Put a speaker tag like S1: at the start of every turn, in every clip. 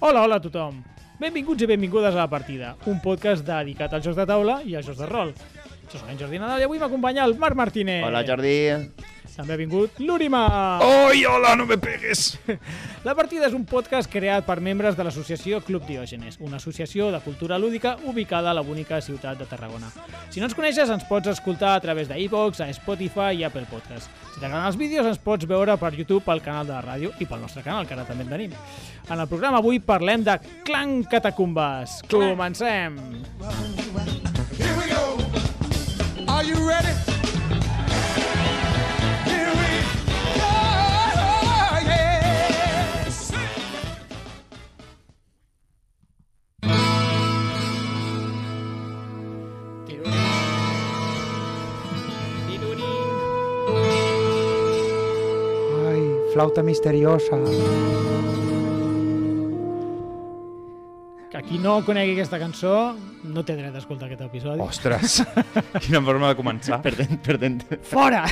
S1: Hola, hola a tothom. Benvinguts i benvingudes a La Partida, un podcast dedicat als jocs de taula i als jocs de rol. Jo soc en Jordi Nadal i avui m'acompanya el Marc Martínez.
S2: Hola, Jordi.
S1: També ha vingut l'Urima.
S3: ¡Ay, hola, no me pegues!
S1: La Partida és un podcast creat per membres de l'associació Club Diògenes, una associació de cultura lúdica ubicada a la bonica ciutat de Tarragona. Si no ens coneixes, ens pots escoltar a través de iVoox, a Spotify i Apple Podcast. Si t'agraden els vídeos, ens pots veure per YouTube, pel canal de la ràdio i pel nostre canal, que ara també en tenim. En el programa avui parlem de Clan Catacumbes. Comencem!
S3: Here we go. Are you ready? Here we go. Yes.
S4: Ay, flauta misteriosa.
S1: Que qui no conegui aquesta cançó no té dret a escoltar aquest episodi.
S3: Ostres, quina forma de començar.
S2: Perdent, perdent,
S1: Fora!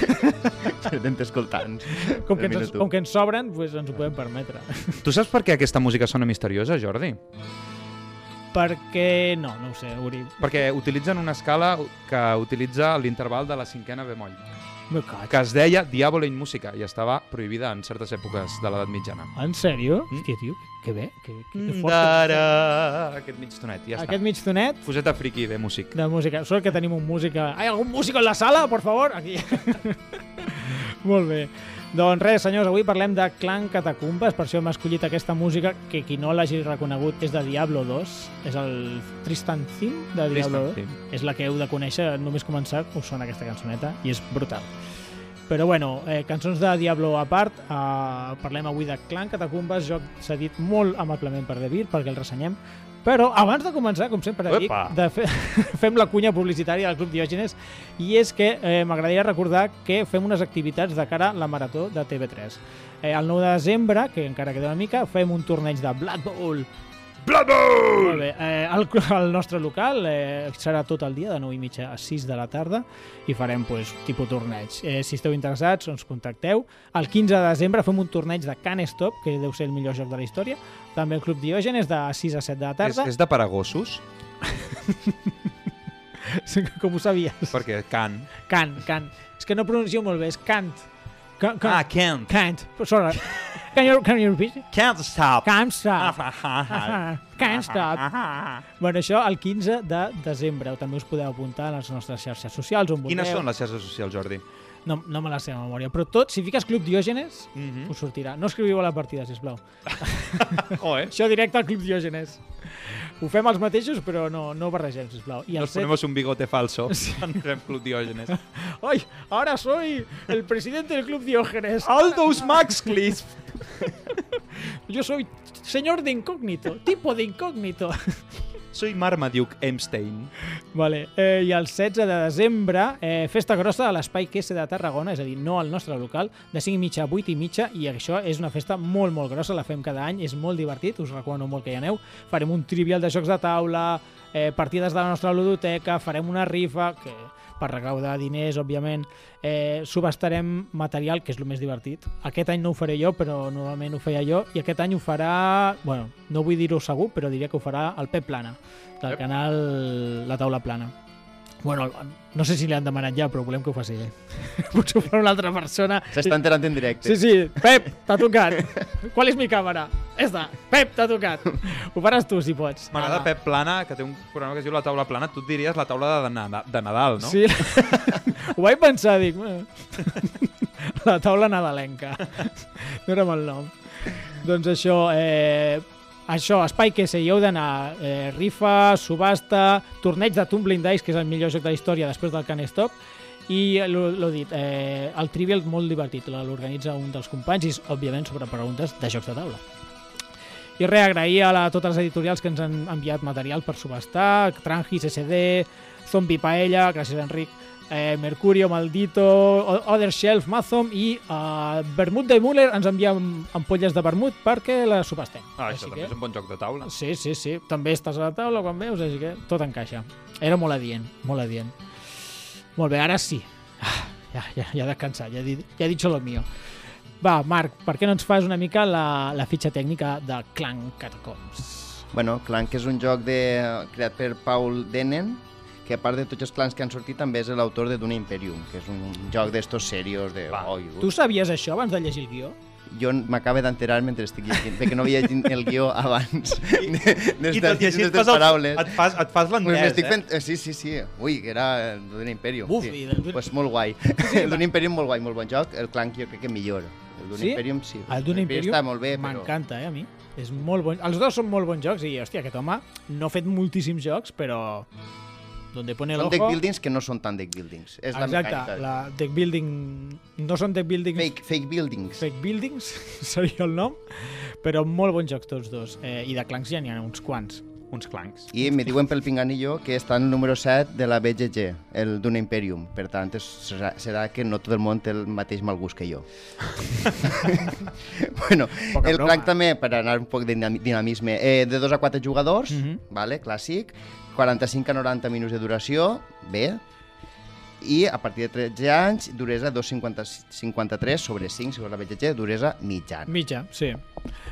S2: perdent escoltants.
S1: Com que, ens,
S2: Mira tu.
S1: com que ens sobren, pues ens ho podem permetre.
S3: Tu saps per què aquesta música sona misteriosa, Jordi?
S1: Perquè no, no ho sé, Uri.
S3: Perquè utilitzen una escala que utilitza l'interval de la cinquena bemoll,
S1: Me caig.
S3: que es deia Diabolo in Musica i estava prohibida en certes èpoques de l'edat mitjana.
S1: En sèrio?
S3: Mm.
S1: Hòstia, tio, que bé, que, que, que fort.
S3: Dara, Ah, aquest mig tonet, ja
S1: Aquest
S3: està.
S1: mig tonet
S3: Fuseta friqui de músic.
S1: de música. Sort que tenim un músic... a- Hi ha algun músic en la sala, por favor? Aquí. Molt bé. Doncs res, senyors, avui parlem de Clan Catacumbes, per això hem escollit aquesta música que qui no l'hagi reconegut és de Diablo 2, és el Tristan Theme de Diablo eh? 2.
S3: Tristan, sí.
S1: és la que heu de conèixer, només començar us sona aquesta cançoneta i és brutal. Però bueno, eh, cançons de Diablo a part, eh, parlem avui de Clan Catacumbes, joc cedit molt amablement per Devir, perquè el ressenyem, però abans de començar, com sempre dic,
S3: Epa!
S1: de fe... fem la cunya publicitària del Club Diògenes i és que eh, m'agradaria recordar que fem unes activitats de cara a la Marató de TV3. Eh, el 9 de desembre, que encara queda una mica, fem un torneig de Blood Bowl molt bé. Eh, el, el nostre local eh, serà tot el dia, de 9 i mitja a 6 de la tarda, i farem pues, tipus torneig. Eh, si esteu interessats, ens contacteu. El 15 de desembre fem un torneig de Can Stop, que deu ser el millor joc de la història. També el Club Diògenes, de 6 a 7 de la
S3: És,
S1: tarda.
S3: és de paragossos,
S1: Com ho sabies?
S3: perquè can.
S1: Can, Can. És que no pronuncieu molt bé, és Cant. Can, can,
S3: Ah, can't.
S1: Cant. Sorry. Can you, can you repeat?
S3: Can't stop.
S1: Can't
S3: Ah,
S1: stop. Ah,
S3: Can't
S1: Can't stop. Bueno, això el 15 de desembre. També us podeu apuntar a les nostres xarxes socials on
S3: Quines
S1: vulgueu.
S3: són les xarxes socials, Jordi?
S1: No, no me les sé de memòria, però tot, si fiques Club Diògenes,
S3: Mhm.
S1: us sortirà. No escriviu a la partida, sisplau.
S3: Oh, eh?
S1: Això directe al Club Diògenes. Ho fem els mateixos, però no, no ho barregem, sisplau. I el
S3: Nos
S1: set...
S3: ponemos un bigote falso. Sí. Andrem Club Diògenes.
S1: Ai, ara soy el presidente del Club Diògenes.
S3: Ah. Aldous Maxcliffe.
S1: Yo soy señor de incógnito, tipo de incógnito.
S3: Soy Marmaduke Epstein.
S1: Vale. Eh, I el 16 de desembre, eh, festa grossa a l'Espai QS de Tarragona, és a dir, no al nostre local, de 5 i mitja a 8 i mitja, i això és una festa molt, molt grossa, la fem cada any, és molt divertit, us recomano molt que hi aneu. Farem un trivial de jocs de taula, eh, partides de la nostra ludoteca, farem una rifa, que per recaudar diners, òbviament, eh, subestarem material, que és el més divertit. Aquest any no ho faré jo, però normalment ho feia jo, i aquest any ho farà... Bueno, no vull dir-ho segur, però diria que ho farà el Pep Plana del
S3: Ep.
S1: canal La Taula Plana. Bueno, no sé si l'han demanat ja, però volem que ho faci ell. Potser ho farà una altra persona.
S2: S'està enterant en directe.
S1: Sí, sí, Pep, t'ha tocat. Qual és mi càmera? Esta, Pep, t'ha tocat. Ho faràs tu, si pots.
S3: M'agrada
S1: Ala.
S3: Pep Plana, que té un programa que es diu La Taula Plana. Tu et diries La Taula de, na de Nadal, no?
S1: Sí. ho vaig pensar, dic... "Bueno". La taula nadalenca. No era mal nom. Doncs això, eh, això, espai que se hi heu d'anar, eh, rifa, subhasta, torneig de Tumbling Dice, que és el millor joc de la història després del Can Stop, i l'ho dit, eh, el Trivial molt divertit, l'organitza un dels companys i és, òbviament, sobre preguntes de jocs de taula. I res, agrair a la, a totes les editorials que ens han enviat material per subhastar, Trangis, SD, Zombie Paella, gràcies Enric, eh, Mercurio Maldito, O- Other Shelf, Mazom i eh, Vermut de Müller ens envia ampolles de vermut perquè la subhastem.
S3: Ah, això també
S1: que...
S3: és un bon joc de taula.
S1: Sí, sí, sí. També estàs a la taula quan veus, així que tot encaixa. Era molt adient, molt adient. Molt bé, ara sí. Ah, ja, ja, ja he descansat, ja he dit, ja he dit lo mío. Va, Marc, per què no ens fas una mica la, la fitxa tècnica de Clan Catacombs?
S2: Bueno, Clank és un joc de... creat per Paul Denen, que a part de tots els clans que han sortit també és l'autor de Dune Imperium, que és un joc d'estos serios de...
S3: Va.
S2: Oi,
S1: Tu sabies això abans de llegir el guió?
S2: Jo m'acaba d'enterar mentre estic llegint, de que no havia llegit el guió abans d'estar
S3: tot i així
S2: llegint les
S3: et fas, el,
S1: eh?
S2: paraules.
S3: et fas, et fas
S2: Pues
S3: l'entès,
S2: m'estic
S3: eh?
S2: fent... eh, Sí, sí, sí. Ui, que era el d'un Imperium.
S1: Buf, i
S2: sí.
S1: del Dune-
S2: pues molt guai. El d'un Imperium molt guai, molt bon joc. El Clank jo crec que millor. El d'un
S1: Sí?
S2: Imperium sí.
S1: El d'un Imperium
S2: Està molt bé, però...
S1: m'encanta, eh, a mi. És molt bon. Els dos són molt bons jocs i, hòstia, aquest home no ha fet moltíssims jocs, però... Donde pone el
S2: Són
S1: ojo...
S2: deck buildings que no són tan deck buildings. És
S1: Exacte,
S2: la mecànica.
S1: la deck building... No són deck buildings...
S2: Fake, fake buildings.
S1: Fake Buildings seria el nom, però molt bons jocs tots dos. Eh, I de Clanks ja n'hi ha uns quants.
S3: Uns clancs.
S2: I me diuen pel Pinganillo que està en el número 7 de la BGG, el d'un Imperium. Per tant, és, serà, serà que no tot el món té el mateix mal gust que jo. bueno,
S1: Poca
S2: el
S1: broma.
S2: Clank també, per anar un poc de dinam- dinamisme, eh, de 2 a 4 jugadors,
S1: Mhm.
S2: vale, clàssic, 45 a 90 minuts de duració, bé, i a partir de 13 anys, duresa 2,53 sobre 5, segons la BGG, duresa mitjana.
S1: Mitja, sí.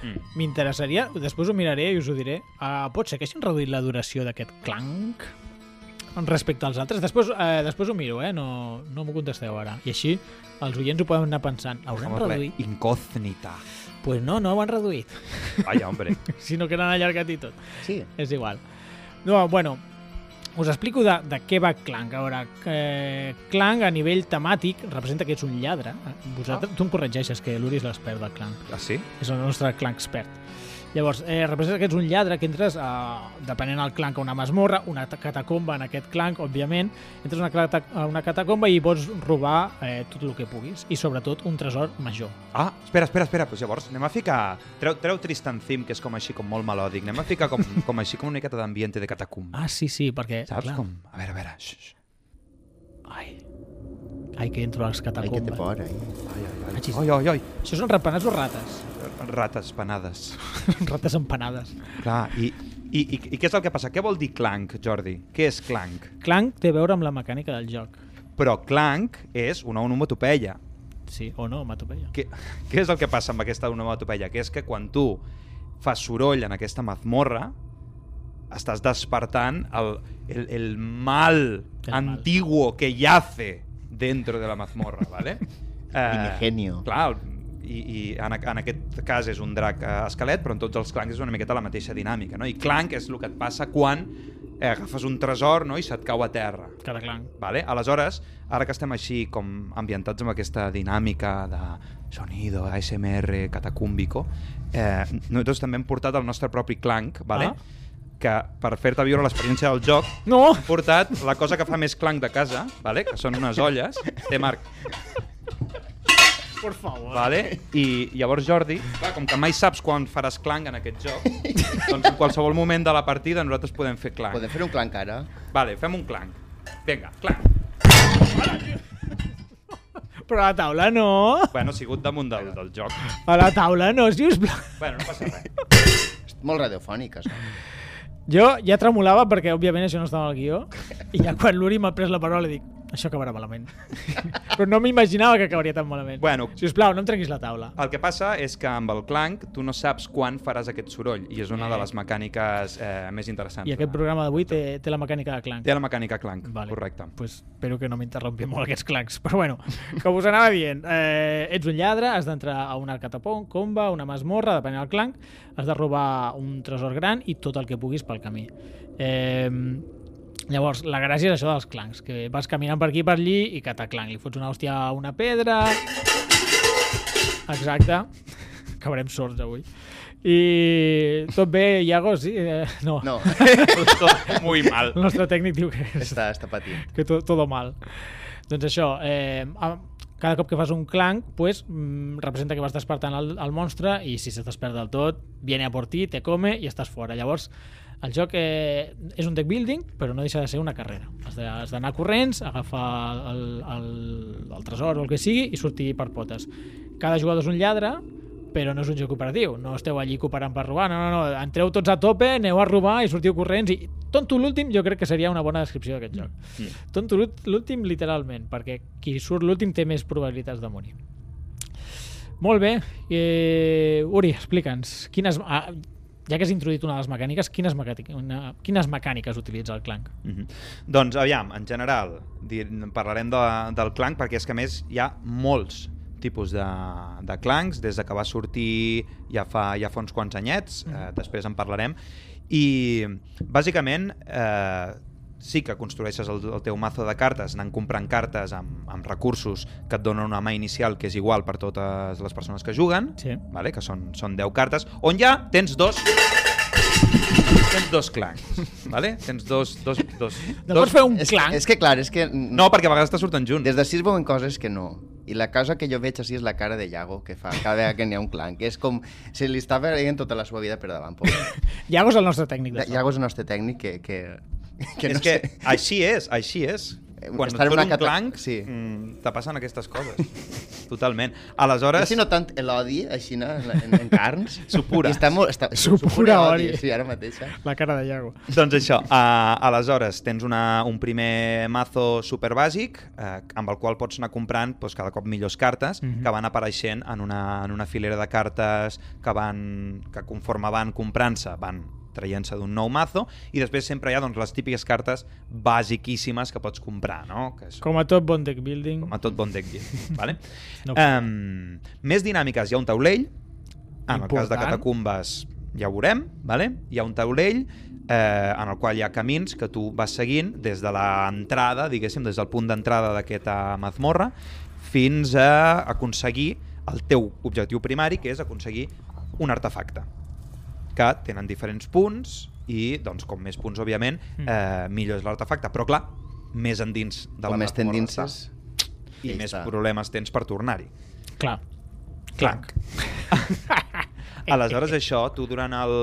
S3: Mm.
S1: M'interessaria, després ho miraré i us ho diré. Uh, pot ser que hagin reduït la duració d'aquest clanc respecte als altres. Després, eh, després ho miro, eh? no, no m'ho contesteu ara. I així els oients ho poden anar pensant. Hauran
S3: Home, ple-
S1: reduït?
S3: Incògnita.
S1: Doncs pues no, no ho han reduït.
S3: Ai, hombre.
S1: si no que l'han allargat i tot.
S2: Sí.
S1: És igual. No, bueno, us explico de, de què va Clank. A veure, eh, Clank a nivell temàtic representa que ets un lladre. Vosaltres, tu em corregeixes que l'Uri és l'expert de Clank.
S3: Ah, sí?
S1: És el nostre clan expert. Llavors, eh, representa que ets un lladre que entres, a, depenent del clan, a una masmorra, una ta- catacomba en aquest clan, òbviament, entres a una, cata- a una catacomba i pots robar eh, tot el que puguis, i sobretot un tresor major.
S3: Ah, espera, espera, espera. Pues llavors anem a ficar... Treu, treu Tristan Thim, que és com així, com molt melòdic. Anem a ficar com, com així, com una miqueta d'ambiente de catacumba.
S1: Ah, sí, sí, perquè...
S3: Saps
S1: clar,
S3: com? A veure, a veure. Xux.
S1: Ai, ai, que entro a les
S2: Ai, que té
S1: catacombes.
S2: por, eh?
S3: Ai, ai, ai.
S1: Així.
S3: Ai, ai, ai.
S1: Això són repenats o rates?
S3: Rates penades.
S1: rates empanades.
S3: Clar, i, i, i, i què és el que passa? Què vol dir clank, Jordi? Què és clank?
S1: Clank té a veure amb la mecànica del joc.
S3: Però clank és una onomatopeia.
S1: Sí, o no, Matopeia.
S3: Què, què és el que passa amb aquesta onomatopeia? Que és que quan tu fas soroll en aquesta mazmorra, estàs despertant el, el, el mal
S1: El mal.
S3: antiguo que yace dentro de la mazmorra, ¿vale? Eh,
S2: Primigenio.
S3: Clar, el- i, i en, a- en aquest cas és un drac eh, esquelet, però en tots els clancs és una miqueta la mateixa dinàmica, no? I clanc és el que et passa quan eh, agafes un tresor no? i se't cau a terra.
S1: Cada clan.
S3: Vale? Aleshores, ara que estem així com ambientats amb aquesta dinàmica de sonido, ASMR, catacúmbico, eh, nosaltres també hem portat el nostre propi clanc, vale?
S1: Ah.
S3: que per fer-te viure l'experiència del joc
S1: No!
S3: hem portat la cosa que fa més clanc de casa, vale? que són unes olles, té Marc,
S1: Por favor.
S3: vale? i llavors Jordi, clar, com que mai saps quan faràs clanc en aquest joc, doncs en qualsevol moment de la partida nosaltres podem fer clanc.
S2: Podem fer un clank ara?
S3: Vale, fem un clanc. Vinga, clanc.
S1: Però a la taula no!
S3: Bueno, ha sigut damunt del, del joc.
S1: A la taula no, sisplau.
S3: Bueno, no passa res.
S2: Molt radiofòniques. No?
S1: Jo ja tremolava perquè, òbviament, això no estava al guió. I ja quan l'Uri m'ha pres la paraula dic això acabarà malament. Però no m'imaginava que acabaria tan malament.
S3: Bueno.
S1: Si us plau, no em trenquis la taula.
S3: El que passa és que amb el clanc tu no saps quan faràs aquest soroll i és una de les mecàniques eh, més interessants.
S1: I aquest
S3: de-
S1: programa d'avui té, té la mecànica de clan.
S3: Té la mecànica clanc,
S1: Vale.
S3: correcte.
S1: Pues espero que no m'interrompi molt aquests clacs. Però bueno, com us anava dient, eh, ets un lladre, has d'entrar a una catapon, comba, una masmorra, depenent del clanc, has de robar un tresor gran i tot el que puguis pel camí. Eh, llavors, la gràcia és això dels clancs, que vas caminant per aquí per allí i cataclanc, li fots una hòstia a una pedra... Exacte. Acabarem sords avui. I tot bé, Iago? Sí? Eh, no.
S2: No,
S3: Muy mal.
S1: El nostre tècnic diu que és
S2: està, està patint.
S1: que to, todo mal. Doncs això, eh, a- cada cop que fas un clanc, pues, mm, representa que vas despertant el, el monstre i si se despert del tot, viene a por ti, te come i estàs fora. Llavors, el joc eh, és un deck building, però no deixa de ser una carrera. Has de- Has d'anar corrents, agafar el, el, el tresor o el que sigui i sortir per potes. Cada jugador és un lladre, però no és un joc cooperatiu, no esteu allí cooperant per robar, no, no, no, entreu tots a tope, aneu a robar i sortiu corrents i tonto l'últim jo crec que seria una bona descripció d'aquest joc. Mm. Tonto l'ú- l'últim literalment, perquè qui surt l'últim té més probabilitats de morir. Molt bé. Eh, Uri, explica'ns, quines, ah, ja que has introduït una de les mecàniques, quines, mecànic, una, quines mecàniques utilitza el Clank?
S3: Mhm. Doncs aviam, en general, dir, parlarem de, del clanc perquè és que a més hi ha molts tipus de, de clancs, des de que va sortir ja fa, ja fa uns quants anyets, eh, després en parlarem, i bàsicament eh, sí que construeixes el, el teu mazo de cartes anant comprant cartes amb, amb recursos que et donen una mà inicial que és igual per totes les persones que juguen,
S1: Sí.
S3: vale? que són, són 10 cartes, on ja tens dos tens dos clancs, vale? Tens dos... dos, dos,
S1: Llavors
S3: dos...
S1: fer un
S2: És,
S1: Clank.
S2: és que clar, és que...
S3: No, perquè a vegades te surten junts.
S2: Des de sis veuen coses que no. I la cosa que jo veig així és la cara de Iago que fa cada vegada que n'hi ha un clan, que és com se li està veient tota la seva vida per davant. pobre.
S1: Iago és el nostre tècnic de so.
S2: Iago és el nostre tècnic que... que, que no
S3: és que
S2: sé.
S3: així és, així és.
S2: Eh,
S3: Quan
S2: estar
S3: et
S2: en
S3: fot
S2: una
S3: un
S2: cata-
S3: clanc,
S2: sí.
S3: mm, te passen aquestes coses. Totalment. Aleshores,
S2: Si no tant l'odi, així, no? en, en, en carns.
S3: Supura.
S2: I Està molt, està,
S1: Supura odi.
S2: Sí, ara mateixa.
S1: La cara de Iago.
S3: doncs això, uh, aleshores tens una, un primer mazo superbàsic uh, amb el qual pots anar comprant doncs, cada cop millors cartes
S1: Mhm.
S3: que van apareixent en una, en una filera de cartes que, van, que conforme van comprant-se van traient-se d'un nou mazo i després sempre hi ha doncs, les típiques cartes basiquíssimes que pots comprar, no? Que és,
S1: Com a tot bon deck building.
S3: com a tot bon deck building, vale?
S1: No.
S3: no. um, més dinàmiques, hi ha un taulell en el cas de
S1: Important.
S3: catacumbes ja ho veurem, vale? hi ha un taulell eh, en el qual hi ha camins que tu vas seguint des de l'entrada diguéssim, des del punt d'entrada d'aquesta mazmorra fins a aconseguir el teu objectiu primari que és aconseguir un artefacte que tenen diferents punts i doncs com més punts òbviament eh, millor és l'artefacte, però clar més endins de la
S2: Com més
S3: mazmorra
S2: tendinces...
S3: està i
S2: Ja
S3: més
S2: està.
S3: problemes tens per tornar-hi.
S1: Clar.
S3: Clanc. Aleshores, això, tu durant el,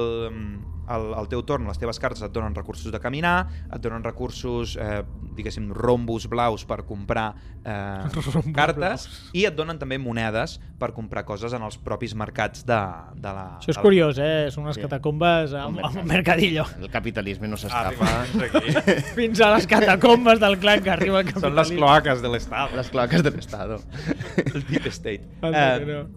S3: el, el teu torn, les teves cartes et donen recursos de caminar, et donen recursos, eh, diguéssim, rombos blaus per comprar eh,
S1: Rombos
S3: cartes,
S1: blaus.
S3: i et donen també monedes per comprar coses en els propis mercats de, de la...
S1: Això és
S3: de la-
S1: curiós, eh? Són unes
S2: Sí.
S1: catacombes amb, amb un mercadillo.
S2: El capitalisme no
S3: Ah,
S2: s'escapa.
S3: fins aquí.
S1: Fins a les catacombes del clan que arriba el
S3: Són les
S1: capitalisme.
S3: cloaques de l'estat.
S2: Les cloques de l'Estado.
S3: El Deep State. Eh,
S1: Anda que no.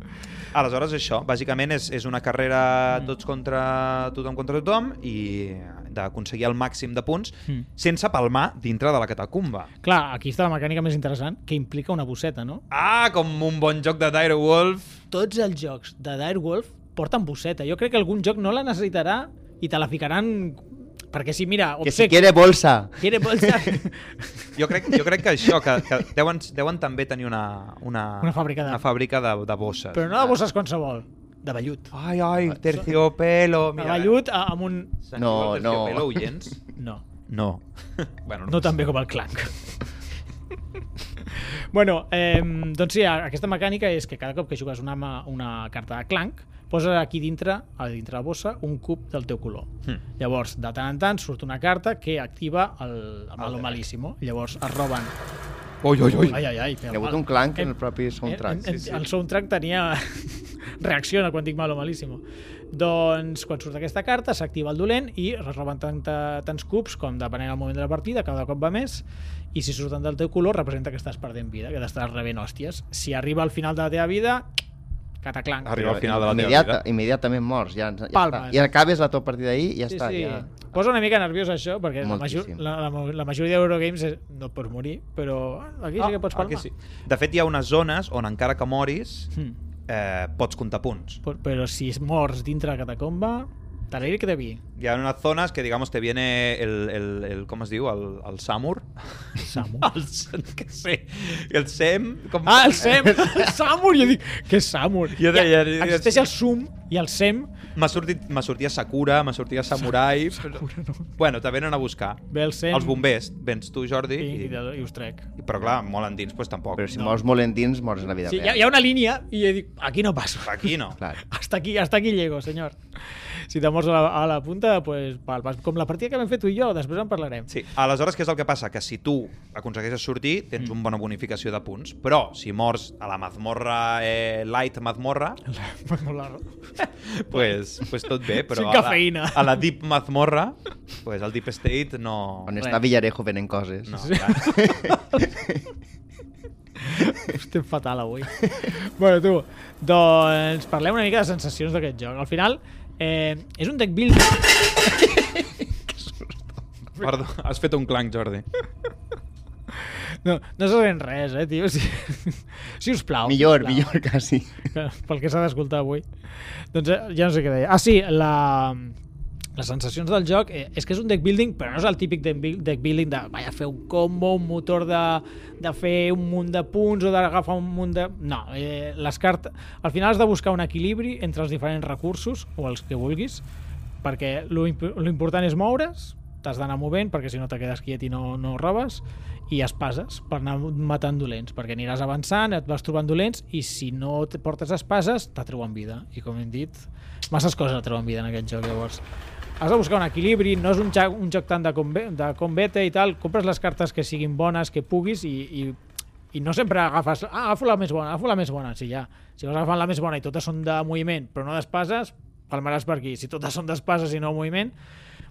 S3: Aleshores, això, bàsicament és, és una carrera tots contra tothom contra tothom i d'aconseguir el màxim de punts
S1: Mm.
S3: sense palmar dintre de la catacumba.
S1: Clar, aquí està la mecànica més interessant, que implica una bosseta, no?
S3: Ah, com un bon joc de Dire Wolf.
S1: Tots els jocs de Direwolf porten bosseta. Jo crec que algun joc no la necessitarà i te la ficaran... Perquè si, mira,
S2: Que si
S1: Obsec...
S2: quiere bolsa.
S1: Quiere bolsa...
S3: Jo crec, jo crec que això, que, que deuen, deuen també tenir una, una,
S1: Una fàbrica de-
S3: una fàbrica de, de bosses.
S1: Però no de bosses qualsevol, de vellut.
S3: Ai, ai, terciopelo.
S1: De
S3: Mira,
S1: vellut a- amb un...
S3: Se'n
S2: No,
S3: diu el
S2: no.
S3: terciopelo, ho gens?
S1: No,
S3: No. bueno,
S1: no tan bé com el clanc. bueno, eh, doncs sí, aquesta mecànica és que cada cop que jugues una, ma- una carta de clanc, poses aquí dintre, a dintre la bossa, un cub del teu color.
S3: Hm.
S2: Hmm.
S1: Llavors, de tant en tant, surt una carta que activa
S2: Ah,
S1: el, el malo
S3: deck.
S1: malíssimo. Llavors es roben...
S3: Ui, ui, ui.
S1: Ai, ai, ai. Hi
S2: Hi ha hagut un clanc en el propi soundtrack.
S1: Eh, En, en,
S2: Sí, sí.
S1: El soundtrack tenia... reacciona quan dic malo malíssimo. Doncs quan surt aquesta carta s'activa el dolent i es roben tanta, tants cups com depenent del moment de la partida, cada cop va més i si surten del teu color representa que estàs perdent vida, que t'estàs rebent hòsties. Si arriba al final de la teva vida, cataclanc.
S3: Arriba al final de la teva
S2: Immediata,
S3: vida.
S2: Immediatament morts, ja, ja
S1: Palmes.
S2: està. I acabes la teva partida ahir i ja
S1: Sí,
S2: està.
S1: sí.
S2: Ja.
S1: Posa una mica nerviós això, perquè la, major,
S2: Moltíssim.
S1: la, la, la majoria d'Eurogames és- no et pots morir, però aquí sí que pots
S3: Ah,
S1: palmar.
S3: sí. De fet, hi ha unes zones on encara que moris
S1: Hmm.
S3: eh, pots comptar punts.
S1: Però, però si mors dintre la catacomba, te l'aire que te vi.
S3: Hi ha unes zones que, digamos, te viene el, el, el com es diu, el, el Samur.
S1: Samu.
S3: El, què sé, el Sem. Com...
S1: Ah, el SEM! El Samur! Jo dic, què és Samur?
S3: Jo deia-
S1: Hi ha- Existeix el Sum i el SEM.
S3: M'ha sortit, me sortia Sakura, m'ha sortia Samurai.
S1: Sakura, no.
S3: Bueno, te venen a buscar.
S1: Ve el SEM
S3: Els bombers, vens tu, Jordi.
S1: i, i,
S3: I,
S1: de- i us trec.
S3: Però clar, molt endins, doncs tampoc.
S2: Però si mors molt endins, mors en la vida
S1: Sí, hi, ha,
S2: real.
S1: hi ha una línia i jo dic, aquí no passo.
S3: Aquí no.
S2: Clar.
S1: Hasta aquí, hasta aquí llego, senyor. Si te mors a la, a la punta, pues, palmes. Com la partida que vam fer tu i jo, després en parlarem.
S3: Sí, aleshores què és el que passa? Que si tu aconsegueixes sortir, tens mm. una bona bonificació de punts, però si mors a la mazmorra eh, light mazmorra,
S1: Molar.
S3: pues, pues tot bé, però
S1: Sin
S3: a la,
S1: cafeïna.
S3: a la deep mazmorra, pues el deep state no...
S2: On està Villarejo venent coses.
S3: no clar.
S1: Estem fatal avui. bueno, tu, doncs parlem una mica de sensacions d'aquest joc. Al final, eh, és un deck building...
S3: Perdó, has fet un clanc, Jordi.
S1: No, no se sent res, eh, tio? Si, si us plau.
S2: Millor,
S1: sisplau.
S2: millor, quasi.
S1: Que- pel que s'ha d'escoltar avui. Doncs eh, ja no sé què deia. Ah, sí, la, les sensacions del joc eh, és que és un deck building, però no és el típic deck buil- deck building de vaja, fer un combo, un motor de, de fer un munt de punts o d'agafar un munt de... No, eh, les cartes... Al final has de buscar un equilibri entre els diferents recursos o els que vulguis, perquè lo imp- lo important és moure's, t'has d'anar movent perquè si no te quedes quiet i no, no robes i espases per anar matant dolents perquè aniràs avançant, et vas trobant dolents i si no te portes espases t'atreuen vida i com hem dit, masses coses atreuen vida en aquest joc llavors has de buscar un equilibri, no és un joc, un joc tant de, combe, de combate i tal, compres les cartes que siguin bones, que puguis i, i i no sempre agafes, ah, agafo la més bona, agafo la més bona, sí, ja. Si vas agafant la més bona i totes són de moviment, però no d'espases, palmaràs per aquí. Si totes són d'espases i no moviment,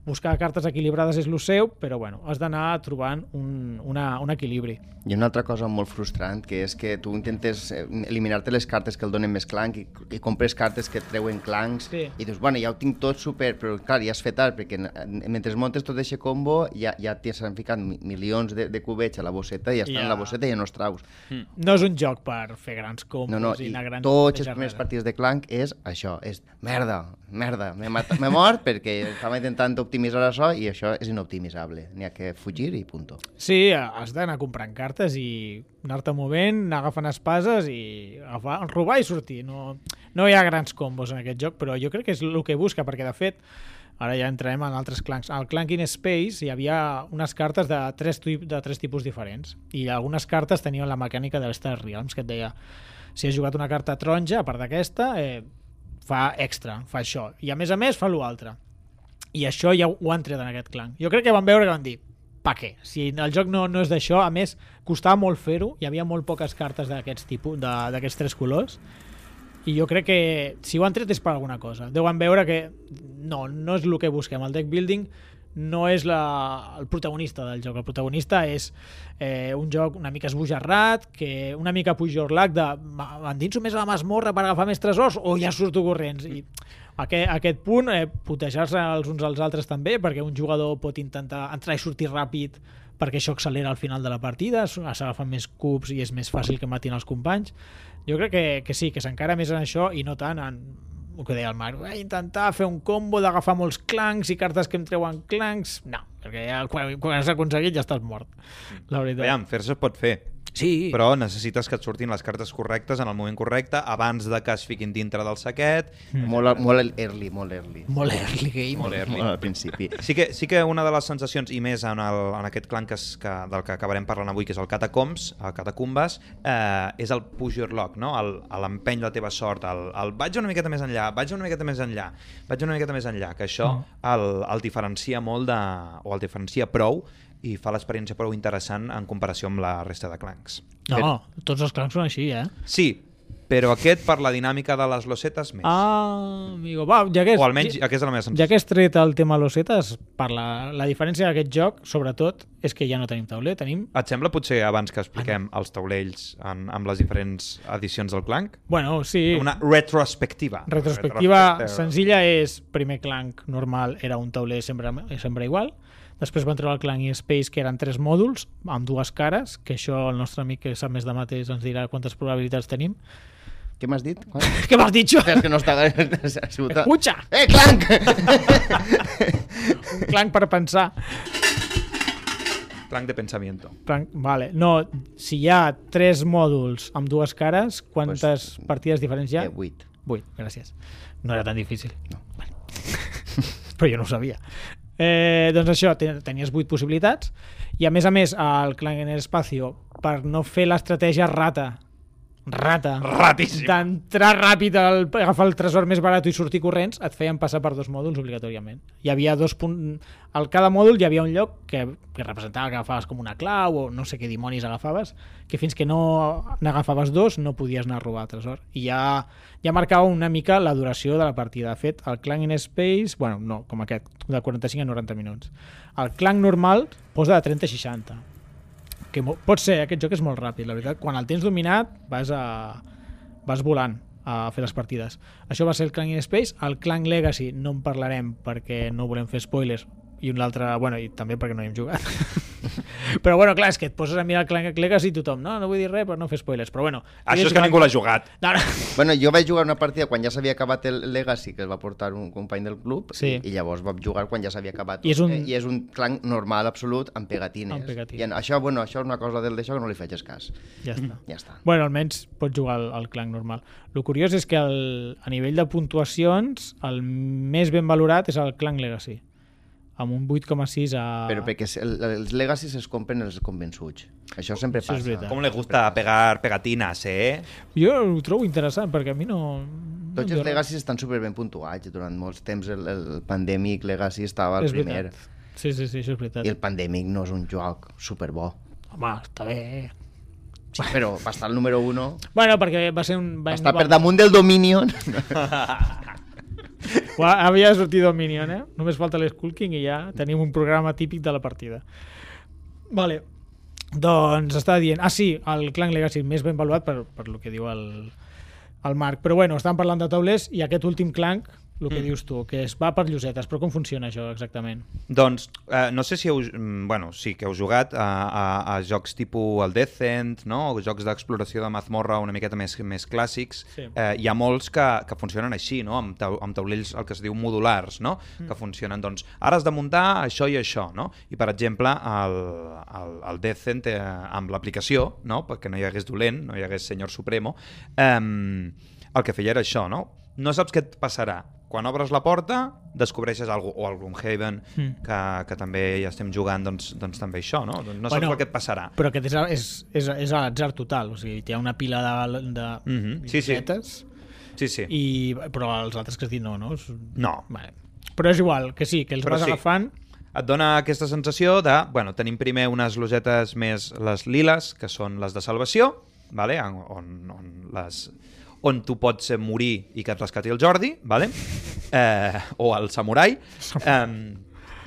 S1: buscar cartes equilibrades és lo seu, però bueno, has d'anar trobant un, una, un equilibri.
S2: Hi ha una altra cosa molt frustrant, que és que tu intentes eh, eliminar-te les cartes que el donen més clanc i, i compres cartes que et treuen clancs
S1: Sí.
S2: i dius, bueno, ja ho tinc tot super, però clar, ja has fet tard, perquè en- mentre montes tot aquest combo ja, ja t'hi s'han ficat mi- milions de, de cubets a la bosseta i ja estan
S1: Ja. Hmm.
S2: a la bosseta i ja no els traus.
S1: No és un joc per fer grans combos
S2: No, no,
S1: i
S2: i
S1: anar grans...
S2: tots els
S1: pejarrades.
S2: primers partits de Clank és això, és merda, merda, m'he matat- m'he mort perquè estava intentant optimitzar això i això és inoptimitzable, n'hi ha que fugir i punto.
S1: Sí, has d'anar comprant cartes i anar-te movent, anar agafant espases i agafar, robar i sortir. No, no hi ha grans combos en aquest joc, però jo crec que és el que busca, perquè de fet, ara ja entrarem en altres clancs. Al Clank in Space hi havia unes cartes de tres, tui- de tres tipus diferents i algunes cartes tenien la mecànica de l'Star Realms, que et deia si has jugat una carta taronja, a part d'aquesta, eh, fa extra, fa això. I a més a més fa l'altre. I això ja ho han tret en aquest clan. Jo crec que van veure que van dir, pa què? Si el joc no, no és d'això, a més, costava molt fer-ho, hi havia molt poques cartes d'aquests tipus, de- d'aquests tres colors, i jo crec que si ho han tret és per alguna cosa. Deuen veure que no, no és el que busquem. El deck building no és la, el protagonista del joc. El protagonista és eh, un joc una mica esbojarrat, que una mica pujorlac de "Ma- m'endinso més a la masmorra per agafar més tresors o ja surto corrents. I aquest, aquest punt, eh, putejar-se els uns als altres també, perquè un jugador pot intentar entrar i sortir ràpid perquè això accelera al final de la partida, s- s'agafen més cups i és més fàcil que matin els companys. Jo crec que, que sí, que s'encara més en això i no tant en el que deia el Marc, "Vaig intentar fer un combo d'agafar molts clancs i cartes que em treuen clancs. No, perquè ja, quan, quan has aconseguit ja estàs mort. La veritat.
S3: Mm. Aviam, fer-se es pot fer.
S1: sí,
S3: Però necessites que et surtin les cartes correctes en el moment correcte, abans de que es fiquin dintre del saquet.
S1: Hmm.
S2: Molt, molt early, molt early.
S1: molt early game.
S3: Molt early.
S2: Molt al principi.
S3: Sí que, sí que una de les sensacions, i més en, el, en aquest clan que es, que, del que acabarem parlant avui, que és el Catacombs, el Catacumbes, eh, és el push your luck, no? El- a l'empeny la teva sort, el, el vaig una miqueta més enllà, vaig una miqueta més enllà, vaig una miqueta més enllà, que això
S1: Mm.
S3: el, el diferencia molt de, o el diferencia prou i fa l'experiència prou interessant en comparació amb la resta de clancs.
S1: No, tots els clancs són així, eh?
S3: Sí, però aquest per la dinàmica de les losetes més.
S1: Ah, amigo. Va, ja que és,
S3: o almenys aquesta és la meva sensació.
S1: Ja que has tret el tema losetes, per la, la diferència d'aquest joc, sobretot, és que ja no tenim tauler, tenim...
S3: Et sembla potser abans que expliquem els taulells en, amb les diferents edicions del Clank?
S1: Bueno, sí,
S3: Una retrospectiva.
S1: retrospectiva
S3: Retrospectiva.
S1: senzilla és primer clanc normal era un tauler sempre, sempre igual després van treure el clanc i Space que eren tres mòduls amb dues cares que això el nostre amic que sap més de mateix ens dirà quantes probabilitats tenim
S2: Què m'has dit? Quan?
S1: què m'has dit jo?
S2: És que no està... ha sigut-
S1: Escucha!
S2: Eh, clanc!
S1: un clanc per pensar
S3: Clank de pensamiento.
S1: Clanc, vale. no, si hi ha tres mòduls amb dues cares quantes
S2: Pues-
S1: partides diferents hi ha?
S2: Eh, 8.
S1: 8, gràcies. No era tan difícil. No. Vale. Però jo no ho sabia. Eh, doncs això, ten- tenies 8 possibilitats i a més a més el Clan en el Espacio per no fer l'estratègia rata rata
S3: Ratíssim.
S1: d'entrar ràpid al, agafar el tresor més barat i sortir corrents, et feien passar per dos mòduls obligatòriament. Hi havia dos punt... Al cada mòdul hi havia un lloc que, que representava que agafaves com una clau o no sé què dimonis agafaves, que fins que no n'agafaves dos no podies anar a robar el tresor. I ja, ja marcava una mica la duració de la partida. De fet, el clank in space, bueno, no, com aquest, de 45 a 90 minuts. El clank normal posa de 30 a 60 que mo- pot ser, eh, aquest joc és molt ràpid, la veritat. Quan el tens dominat, vas, a, vas volant a fer les partides. Això va ser el Clank in Space. El Clank Legacy no en parlarem perquè no volem fer spoilers i un altre, bueno, i també perquè no hi hem jugat. però bueno, clar, és que et poses a mirar el Clank Legacy i tothom, no, no vull dir res per no fer spoilers, però bueno.
S3: Això és que ningú l'ha jugat.
S1: No, no.
S2: Bueno, jo vaig jugar una partida quan ja s'havia acabat el Legacy, que el va portar un company del club,
S1: Sí.
S2: i, i llavors vam jugar quan ja s'havia acabat.
S1: I és un-
S2: eh? I és un clanc normal, absolut, amb pegatines.
S1: Amb pegatines.
S2: I en, això, bueno, això és una cosa del d'això que no li faig cas.
S1: Ja està.
S2: Ja està.
S1: Bueno, almenys pots jugar al, al clanc normal. El curiós és que el, a nivell de puntuacions el més ben valorat és el clanc Legacy amb un 8,6 a...
S2: Però perquè es- el, els Legacy es compren els convençuts. Això sempre
S1: Això
S2: passa.
S1: és veritat.
S3: Com le gusta pegar pegatines, eh?
S1: Jo ho trobo interessant perquè a mi no... no em
S2: Tots els
S1: diu res.
S2: Legacy estan superben puntuats. Durant molts temps el, el Pandemic Legacy estava el
S1: És
S2: primer.
S1: veritat. Sí, sí, sí, això és veritat.
S2: I el Pandemic no és un joc superbo.
S1: Home, està bé.
S2: Sí, però va estar el número 1,
S1: Bueno, perquè va ser un...
S2: va
S1: Va
S2: estar per damunt del Dominion.
S1: Ua, havia sortit Dominion, eh? Només falta l'Skull King i ja tenim un programa típic de la partida. Vale. Doncs està dient... Ah, sí, el Clan Legacy més ben valuat per, per lo que diu el, el Marc. Però bueno, estan parlant de taulers i aquest últim Clan, el que mm. dius tu, que es va per llosetes. Però com funciona això exactament?
S3: Doncs eh, no sé si heu... mm, Bueno, sí que heu jugat a, a, a jocs tipus el Descent, no? o jocs d'exploració de mazmorra una miqueta més, més clàssics.
S1: Sí.
S3: Eh, hi ha molts que, que funcionen així, no? amb, tau, amb taulells el que es diu modulars, no? mm. que funcionen, doncs, ara has de muntar això i això. No? I, per exemple, el, el, el Descent eh, amb l'aplicació, no? perquè no hi hagués dolent, no hi hagués senyor supremo, eh, el que feia era això, no? No saps què et passarà. Quan obres la porta, descobreixes alguna o el Gloomhaven,
S1: Mm.
S3: mm. que, que també ja estem jugant, doncs, doncs també això, no? Doncs no saps
S1: Bueno,
S3: bueno, el que et passarà.
S1: Ah. Però aquest és, és, és, és a l'atzar total. O sigui, hi ha una pila de, de
S3: Mhm, sí, sí.
S1: llosetes
S3: Sí, sí. I...
S1: i, però els altres que has dit no, no? És-
S3: No.
S1: Vale. Però és igual, que sí, que els
S3: Però
S1: vas
S3: sí.
S1: agafant
S3: Et dona aquesta sensació de... Bueno, tenim primer unes losetes més les liles, que són les de salvació, vale? En- on, on, les, on tu pots eh, morir i que et rescati el Jordi, vale? eh, o el samurai. Eh,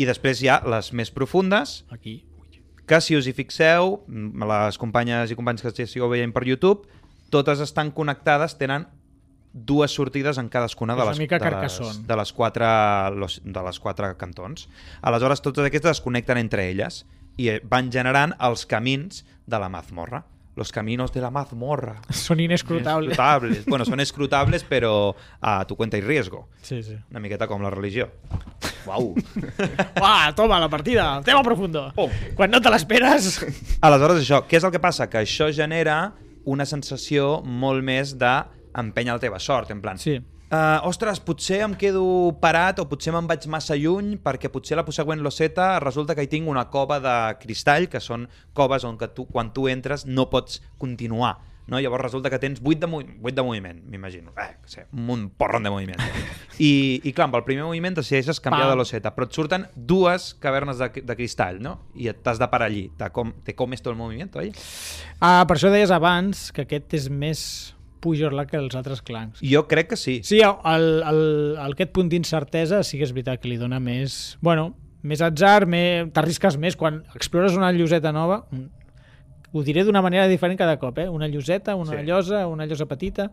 S3: I després hi ha les més profundes,
S1: aquí.
S3: que si us hi fixeu, m- les companyes i companys que estigueu veient per YouTube, totes estan connectades, tenen dues sortides en cadascuna de
S1: És una
S3: les,
S1: mica
S3: de les,
S1: Carcassonne.
S3: de les, quatre, los- de les quatre cantons. Aleshores, totes aquestes es connecten entre elles i eh, van generant els camins de la mazmorra. Los caminos de la mazmorra.
S1: Són inescrutables.
S3: Escrutables. bueno, són escrutables, però a tu cuenta i riesgo.
S1: Sí, sí.
S3: Una miqueta com la religió. Uau!
S1: Uah, toma, la partida, tema profundo.
S3: Pum.
S1: Quan no te l'esperes...
S3: Aleshores, això, què és el que passa? Que això genera una sensació molt més de empenya la teva sort, en plan...
S1: Sí.
S3: Uh, ostres, potser em quedo parat o potser me'n vaig massa lluny perquè potser la següent loseta resulta que hi tinc una cova de cristall, que són coves on que tu, quan tu entres no pots continuar. No? Llavors resulta que tens 8 de, movi 8 de moviment, m'imagino. Eh, que sé, un porron de moviment. I, I clar, amb el primer moviment decideixes canviar
S1: Pam.
S3: de loseta, però et surten dues cavernes de, de cristall, no? I et t'has de parar allí. Te, com, te comes tot el moviment, oi?
S1: Ah, per això deies abans que aquest és més pujorla que els altres clancs.
S3: Jo crec que sí.
S1: Sí, el, el, el, aquest punt d'incertesa sí que és veritat que li dona més... Bueno, més atzar, més... t'arrisques més quan explores una lloseta nova. mm, Ho diré d'una manera diferent cada cop, eh? Una lloseta, una
S3: Sí.
S1: llosa, una llosa petita...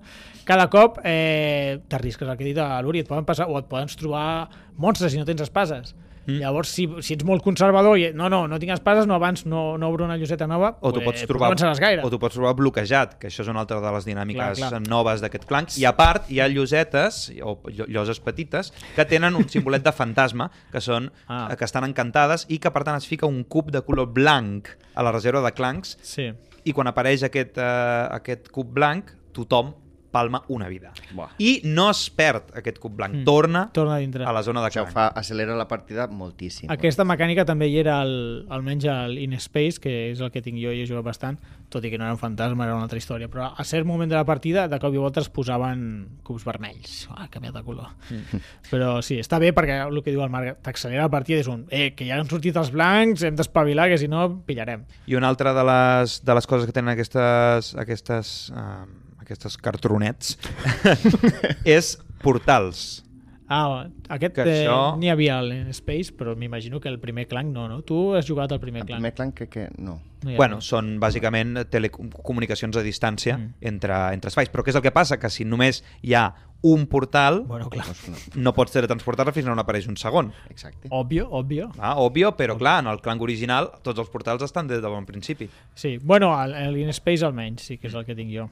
S1: Cada cop eh, t'arrisques, el que he dit a l'Uri, et poden passar o et poden trobar monstres si no tens espases. Mm. Llavors, si, si ets molt conservador i no, no, no tinc espases, no abans no, no obro una lloseta nova,
S3: o tu
S1: eh,
S3: pots
S1: no
S3: trobar
S1: avançaràs gaire.
S3: o tu pots trobar bloquejat, que això és una altra de les dinàmiques
S1: Clar, clar.
S3: noves d'aquest clanc. I a part hi ha llosetes o llo- lloses petites que tenen un simbolet de fantasma, que són
S1: Ah.
S3: ah. que estan encantades i que per tant es fica un cub de color blanc a la reserva de clancs
S1: Sí.
S3: i quan apareix aquest, eh, aquest cub blanc, tothom palma una vida.
S2: Buah.
S3: I no es perd aquest cub blanc, mm. torna,
S1: Torna a dintre.
S3: a la zona de
S2: Això
S3: clanc.
S2: fa, accelera la partida moltíssim.
S1: Aquesta mecànica també hi era al, almenys al In Space, que és el que tinc jo i he jugat bastant, tot i que no era un fantasma, era una altra història, però a cert moment de la partida de cop i volta es posaven cubs vermells ah, ha canviat de color mm. però sí, està bé perquè el que diu el Marc t'accelera la partida, és un, eh, que ja han sortit els blancs, hem d'espavilar, que si no pillarem
S3: I una altra de les, de les coses que tenen aquestes, aquestes, ehm, uh, aquestes cartronets és portals.
S1: Ah, aquest
S3: Que
S1: eh,
S3: això-
S1: n'hi havia al Space, però m'imagino que el primer Clank no, no? Tu has jugat al primer
S2: El
S1: Clank.
S2: primer clan crec que no.
S1: No hi ha
S3: Bueno, són bàsicament telecomunicacions a distància
S1: Mm.
S3: entre, entre espais. Però què és el que passa? Que si només hi ha un portal,
S1: Bueno, clar.
S2: Doncs no.
S3: no pots teletransportar-la fins on apareix un segon.
S2: Exacte.
S1: Òbvio, òbvio.
S3: Ah, òbvio, però clar, en el clanc original tots els portals estan des de bon principi.
S1: Sí, bueno, el- el In Space almenys sí que és el que tinc jo.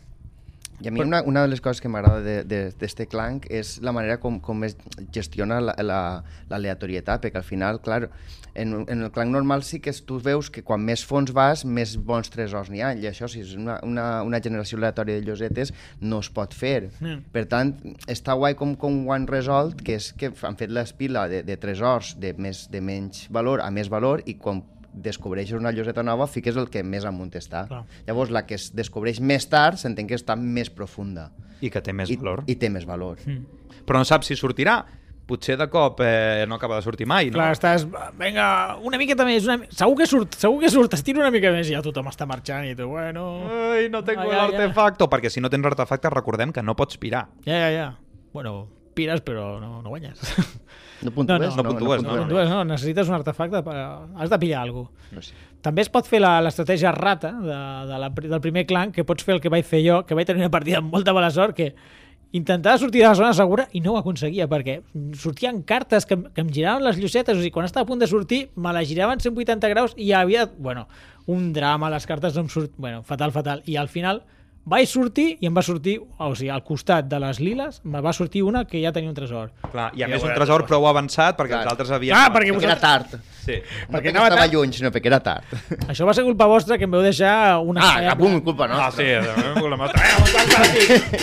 S2: I a mi una, una de les coses que m'agrada de- de- d'este clanc és la manera com, com es gestiona la- la- l'aleatorietat, perquè al final, clar, en, en el clanc normal sí que es- tu veus que quan més fons vas, més bons tresors n'hi ha, i això si és una, una, una generació aleatòria de llosetes no es pot fer.
S1: Mm.
S2: Per tant, està guai com, com ho han resolt, que és que han fet l'espila de, de tresors de, més, de menys valor a més valor i quan descobreixes una lloseta nova, fiques el que més amunt està.
S1: Clar.
S2: Llavors, la que es descobreix més tard s'entén que està més profunda
S3: I que té més
S2: i,
S3: valor.
S2: i té més valor.
S1: Mm.
S3: Però no saps si sortirà. Potser de cop eh, no acaba de sortir mai, no?
S1: Clar, estàs... Vinga, una miqueta més. Una... mi- Segur que surt, segur que surt. Estira una mica més i ja tothom està marxant i tu, bueno...
S3: Ai, no tengo
S1: Ai,
S3: el
S1: ai, ai.
S3: artefacto. Perquè si no tens l'artefacte, recordem que no pots pirar.
S1: Ja, ja, ja. Bueno, pires però no, no guanyes.
S2: No puntues,
S1: No, no,
S2: no,
S3: no puntues,
S1: No, no,
S3: no.
S1: tu, no, necessites un artefacte, per... has de pillar alguna cosa.
S2: No sé.
S1: També es pot fer la- l'estratègia rata de, de la, pri- del primer clan, que pots fer el que vaig fer jo, que vaig tenir una partida amb molta mala sort, que intentava sortir de la zona segura i no ho aconseguia, perquè sortien cartes que, em- que em giraven les llosetes, o sigui, quan estava a punt de sortir, me la giraven 180 graus i hi havia, bueno, un drama, les cartes no em surt... Bueno, fatal, fatal. I al final vaig sortir i em va sortir, o sigui, al costat de les liles, me va sortir una que ja tenia un tresor.
S3: Clar, I
S1: Ja
S3: a més un
S1: veuràs
S3: tresor
S1: després.
S3: prou avançat perquè
S2: Clar.
S3: els altres havien...
S1: Ah, perquè
S2: Perquè era tard.
S3: Sí.
S2: No perquè
S1: anava
S2: estava
S1: tard.
S2: lluny, sinó perquè era tard.
S1: Això va ser culpa vostra, que em veu deixar una...
S2: Ah,
S1: saia-
S2: cap un, culpa
S3: Ah,
S2: nostra.
S3: sí, eh, la mostra. Eh, la mostra.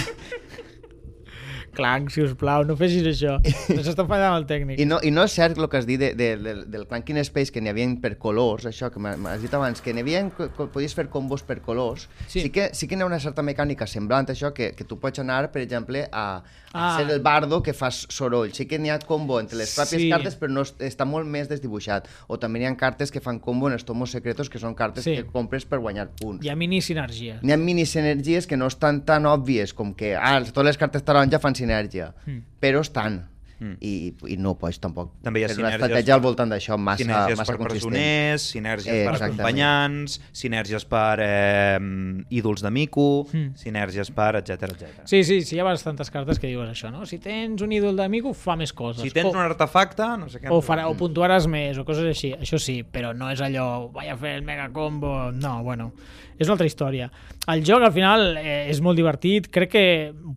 S1: Clanc, si us plau, no facis això. Ens està fallant el tècnic.
S2: I no, I no és cert el que has dit de, de, del, del Clanking Space, que n'hi havia per colors, això que m'ha- m'has dit abans, que n'hi havia, co- co- podies fer combos per colors.
S1: Sí.
S2: Sí, sí que sí que n'hi ha una certa mecànica semblant a això, que, que tu pots anar, per exemple, a, a
S1: Ah.
S2: ser el bardo que fas soroll. Sí que n'hi ha combo entre les pròpies
S1: Sí.
S2: sí. cartes, però no es- està molt més desdibuixat. O també n'hi ha cartes que fan combo en els tomos secretos, que són cartes
S1: Sí.
S2: sí. que compres per guanyar punts.
S1: Hi ha mini sinergies.
S2: N'hi ha minisinergies que no estan tan òbvies com que ah, totes les cartes taronja fan sinergia, mm. però estan.
S3: Mm.
S2: Mm. I, I no pots tampoc
S3: També hi ha
S2: fer una
S3: sinergies-
S2: estratègia al voltant d'això massa,
S3: Sinergies
S2: massa
S3: per
S2: consistent.
S3: presoners, sinergies
S2: Eh,
S3: per
S2: exactament.
S3: acompanyants, sinergies per eh, ídols de mico,
S1: Mm.
S3: sinergies per etc etc.
S1: Sí, sí, sí, hi ha bastantes cartes que diuen això, no? Si tens un ídol d'amic, ho fa més coses.
S3: Si tens un artefacte, no sé què...
S1: doncs, o, o, farà, o puntuaràs més, o coses així. Això sí, però no és allò, vaig a fer el mega combo... No, bueno, és una altra història. El joc, al final, eh, és molt divertit. Crec que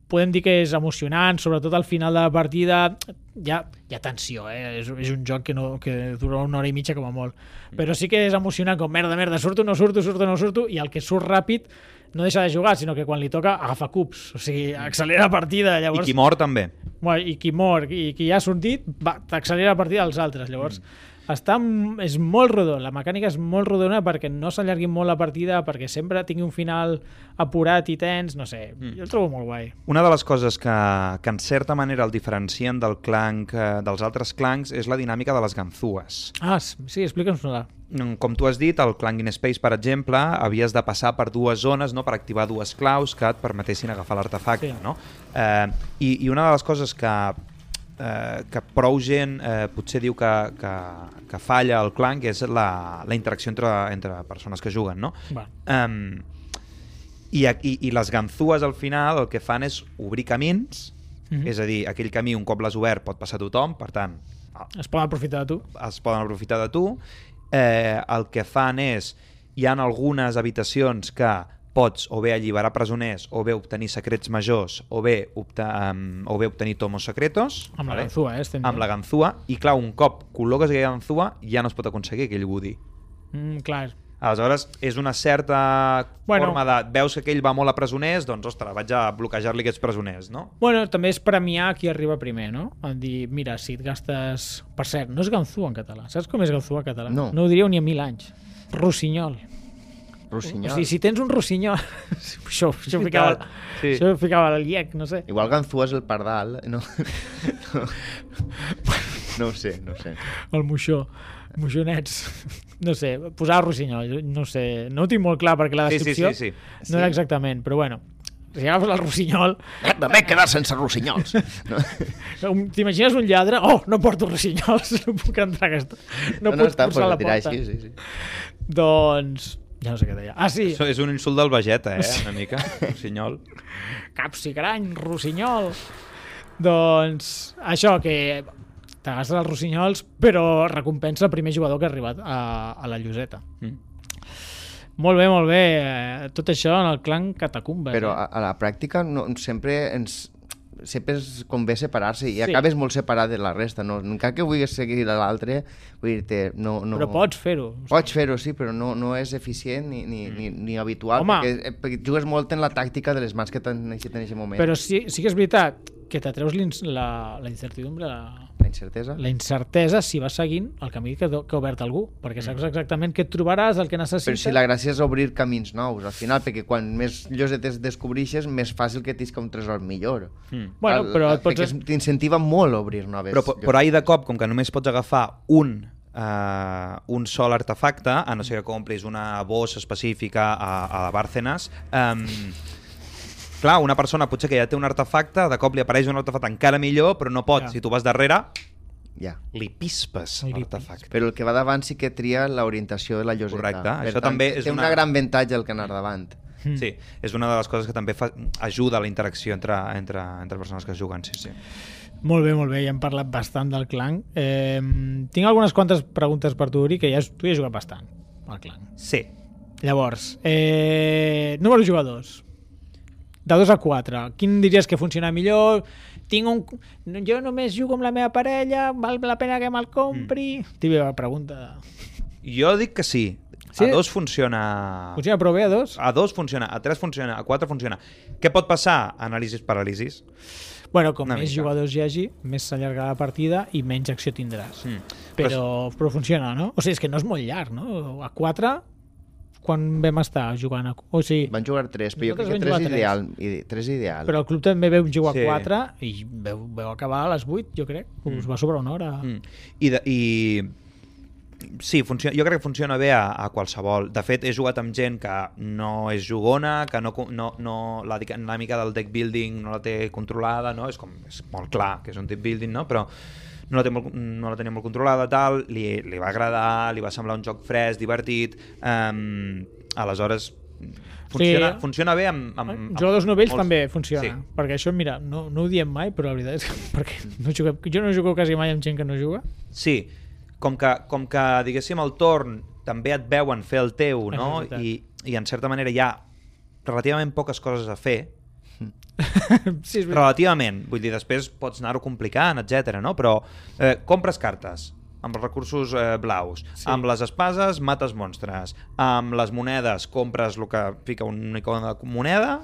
S1: podem dir que és emocionant, sobretot al final de la partida hi ha, hi ha tensió, eh? És, és un joc que, no, que dura una hora i mitja com a molt. Però sí que és emocionant, com merda, merda, surto, no surto, surto, no surto, i el que surt ràpid no deixa de jugar, sinó que quan li toca agafa cups, o sigui, accelera la partida,
S3: I
S1: llavors...
S3: qui mor també.
S1: Bueno, I qui mor i qui ja ha sortit, va, t'accelera la partida dels altres. Llavors, mm. està, m- és molt rodó, la mecànica és molt rodona perquè no s'allargui molt la partida, perquè sempre tingui un final apurat i tens, no sé, mm. jo el trobo molt guai.
S3: Una de les coses que, que en certa manera el diferencien del clanc, eh, dels altres clancs és la dinàmica de les ganzues.
S1: Ah, s- sí, explica'ns-la.
S3: Mm, Com tu has dit, el clanc in space, per exemple, havies de passar per dues zones no? per activar dues claus que et permetessin agafar l'artefacte.
S1: Sí.
S3: Sí. No? Eh, i, I una de les coses que, eh, que prou gent eh, potser diu que, que, que falla el clanc és la, la interacció entre, entre persones que juguen. No?
S1: Va.
S3: Um, i, a- i, I les ganzues al final el que fan és obrir camins, mm
S1: Mhm.
S3: -hmm. és a dir, aquell camí un cop l'has obert pot passar tothom, per tant, a-
S1: Es poden aprofitar de tu?
S3: es poden aprofitar de tu. Eh, el que fan és, hi han algunes habitacions que pots o bé alliberar presoners, o bé obtenir secrets majors, o bé, opta, um, o bé obtenir tomos secretos.
S1: Amb la ganzua, eh? Estem
S3: Amb la ganzua, i clar, un cop col·loques aquella ganzua, ja no es pot aconseguir aquell Woody.
S1: Mm, clar.
S3: Aleshores, és una certa
S1: Bueno.
S3: bueno. forma de... Veus que aquell va molt a presoners, doncs, ostres, vaig a bloquejar-li aquests presoners, no?
S1: Bueno, també és premiar qui arriba primer, no? En dir, mira, si et gastes... Per cert, no és ganzua en català. Saps com és ganzua en català?
S2: No.
S1: No ho diríeu ni en mil anys. Rossinyol.
S2: Rossinyol.
S1: O sigui, si tens un rossinyol... això, això, ho ficava, sí.
S3: Sí.
S1: això ho ficava el llec, no sé.
S2: Igual Ganzúa és el pardal, eh? no? no. No ho sé, no ho sé.
S1: El moixó. Moixonets. No sé, posar rossinyol, no sé. No ho tinc molt clar perquè la
S3: Sí, sí,
S1: descripció
S3: sí, sí.
S1: no era exactament, però bueno. si agafes el rossinyol,
S2: Me vaig quedar sense rossinyols. No,
S1: un- t'imagines un lladre, oh, no porto rossinyols, no puc entrar a aquesta... No, puc
S2: està,
S1: forçar la
S2: però dirà
S1: porta.
S2: així, sí, sí.
S1: Doncs, ja no sé què deia. Ah, sí,
S3: Això és un insult del Vegeta, eh? Una mica, rossinyol.
S1: capsigrany, rossinyol... Doncs, això, que t'agafes els rossinyols, però recompensa el primer jugador que ha arribat a, a la lloseta.
S3: Mm.
S1: Molt bé, molt bé. eh, Tot això en el clan Catacumbes.
S2: Però
S1: eh?
S2: a, a la pràctica no, sempre ens sempre es convé separar-se i
S1: Sí.
S2: acabes molt separat de la resta, no? encara que vulguis seguir a l'altre, vull dir-te, no, ah, no...
S1: Però pots fer-ho. Mm.
S2: Pots fer-ho, sí, però no, no és eficient ni, ni, ni, ni habitual,
S1: Home.
S2: perquè, eh, perquè jugues molt en la tàctica de les mans que tens en aquest moment.
S1: Però sí, sí que és veritat que t'atreus l'ins- la, la incertidumbre, la,
S2: La incertesa.
S1: la incertesa si vas seguint el camí que, do- que ha obert algú, perquè saps exactament què et trobaràs, el que
S2: Mm. Però
S1: necessites.
S2: si la gràcia és obrir camins nous, al final, perquè quan més llosetes descobreixes, més fàcil que tisca un tresor millor.
S3: Mm.
S1: Bueno,
S2: Val?
S1: però et pots-
S2: Perquè es- t'incentiva molt a obrir noves.
S3: Però, po- però ahir de cop, com que només pots agafar un Uh, un sol artefacte, a no ser que compris una bossa específica a, a la Bárcenas, um, clar, una persona potser que ja té un artefacte, de cop li apareix un artefacte encara millor, però no pot.
S1: Ja.
S3: Si tu vas darrere,
S2: Ja.
S3: li pispes
S1: Li
S3: l'artefacte.
S2: Però el que va davant sí que tria l'orientació de la lloseta.
S3: Correcte,
S2: Per
S3: això també és
S2: té una...
S3: una-
S2: gran avantatge el que anar davant.
S1: Mm.
S3: Sí, és una de les coses que també fa, ajuda a la interacció entre, entre, entre persones que juguen, sí, sí.
S1: Molt bé, molt bé, ja hem parlat bastant del clan. Eh, tinc algunes quantes preguntes per tu, Uri, que ja, has- tu hi has jugat bastant, al clan.
S3: Sí,
S1: Llavors, eh, número de jugadors. De 2 a 4, quin diries que funciona millor? Tinc un... no, Jo només jugo amb la meva parella, val la pena que me'l compri? Mm. Típica pregunta.
S3: jo dic que sí.
S1: Sí?
S3: A dos funciona...
S1: Funciona prou bé a 2?
S3: A dos funciona, a tres funciona, a quatre funciona. Què pot passar? Anàlisis, paràlisis.
S1: Bueno, com
S3: Una
S1: més
S3: mica.
S1: jugadors hi hagi, més s'allargarà la partida i menys acció tindràs.
S3: Mm.
S1: Però, però funciona, no? O sigui, és que no és molt llarg, no? A 4, quan vam estar jugant a... O sigui,
S2: Van jugar tres, però jo
S1: Nosaltres vam
S2: crec que tres,
S1: jugar tres.
S2: ideal, i- tres ideal.
S1: però el club també veu jugar
S3: Sí.
S1: a 4 i veu, veu acabar a les 8, jo crec. Us va sobrar una hora.
S3: Mm. I, de, i sí, funciona, jo crec que funciona bé a, a qualsevol. De fet, he jugat amb gent que no és jugona, que no, co- no, no, la dinàmica del deck building no la té controlada, no? És, com, és molt clar que és un deck building, no? però no la, té molt, no la tenia molt controlada, tal, li, li va agradar, li va semblar un joc fresc, divertit, um, aleshores funciona,
S1: Sí.
S3: sí. funciona bé amb, amb, amb
S1: Eh? Jugadors novells
S3: Mm. molts-
S1: també funciona,
S3: Sí.
S1: perquè això, mira, no, no ho diem mai, però la veritat és que perquè no juguem, jo no jugo quasi mai amb gent que no juga.
S3: Sí, com que, com que diguéssim el torn també et veuen fer el teu,
S1: És
S3: no?
S1: veritat.
S3: I, I en certa manera hi ha relativament poques coses a fer,
S1: sí, és veritat.
S3: relativament, vull dir, després pots anar-ho complicant, etc. no? Però eh, compres cartes amb els recursos eh, blaus,
S1: Sí.
S3: sí. amb les espases mates monstres, amb les monedes compres el que fica un icona de moneda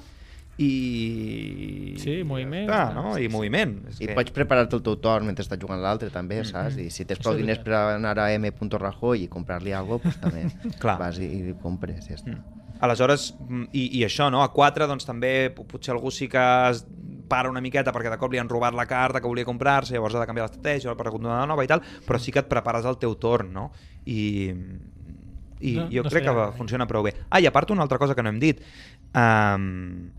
S3: i...
S1: Sí, moviment,
S3: Ja
S1: clar,
S3: està, no?
S1: sí,
S3: I moviment. És
S2: I
S3: que-
S2: pots preparar-te el teu torn mentre estàs jugant l'altre, també, mm -hmm. saps? I si tens
S1: Mm-hmm. Això
S2: prou
S1: és
S2: diners per anar a M. Rajoy i comprar-li alguna cosa, doncs també
S3: Clar.
S2: vas i, i compres, ja està.
S3: Aleshores, mm, i, i això, no? A 4, doncs també po- potser algú sí que es para una miqueta perquè de cop li han robat la carta que volia comprar-se, llavors ha de canviar l'estratègia per continuar la nova i tal, però sí que et prepares el teu torn, no? I, i
S1: No,
S3: no,
S1: no
S3: jo
S1: eh.
S3: no
S1: estaria
S3: crec que va-
S1: malament.
S3: funciona prou bé. Ah, i a part una altra cosa que no hem dit. Um,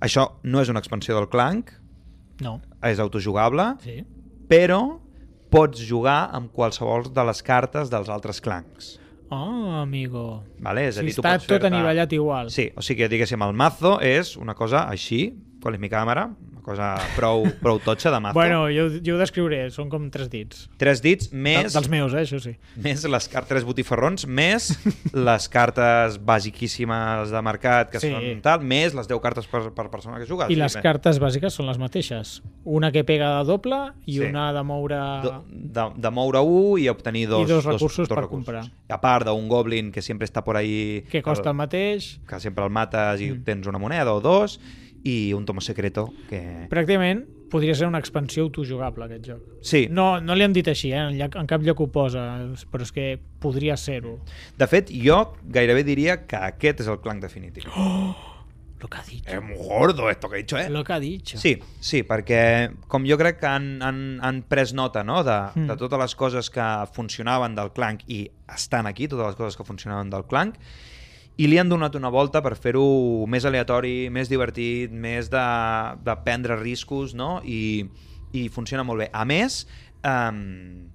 S3: això no és una expansió del Clank,
S1: No,
S3: és autojugable, sí.
S1: sí.
S3: però pots jugar amb qualsevol de les cartes dels altres Clanks.
S1: Oh, amigo.
S3: Vale? És a
S1: Si
S3: dir, tu
S1: està
S3: pots
S1: tot
S3: fer-te-
S1: anivellat igual.
S3: Sí, o sigui que diguéssim, el mazo és una cosa així, qual és mi càmera, una cosa prou, prou totxa de mazo.
S1: Bueno, jo, jo ho descriuré, són com tres dits.
S3: Tres dits,
S1: De,
S3: més,
S1: dels meus, eh, això sí.
S3: més les cartes, tres botifarrons, més les cartes basiquíssimes de mercat que
S1: Sí.
S3: sí. són tal, més les 10 cartes per, per persona que juga.
S1: I
S3: Sí,
S1: les
S3: bé.
S1: cartes bàsiques són les mateixes. Una que pega de doble i
S3: Sí.
S1: una de moure...
S3: Do, de, de moure un i obtenir dos,
S1: I dos recursos per comprar.
S3: A part d'un goblin que sempre està por ahí...
S1: que costa Mm. el mateix.
S3: Que sempre el mates i obtens una moneda o dos, i un tomo secreto que...
S1: Pràcticament podria ser una expansió autojugable, aquest joc.
S3: Sí,
S1: No, no li han dit així, eh? en, lloc, en cap lloc ho posa, però és que podria ser-ho.
S3: De fet, jo gairebé diria que aquest és el clanc definitiu. Oh.
S1: Lo que ha dit.
S3: Es muy gordo esto que he dicho, eh?
S1: Lo que ha dit.
S3: Sí, sí, perquè com jo crec que han, han, han pres nota no? de,
S1: Mm.
S3: mm. de totes les coses que funcionaven del clanc i estan aquí, totes les coses que funcionaven del clanc, i li han donat una volta per fer-ho més aleatori, més divertit, més de, de prendre riscos, no? I, i funciona molt bé. A més, um,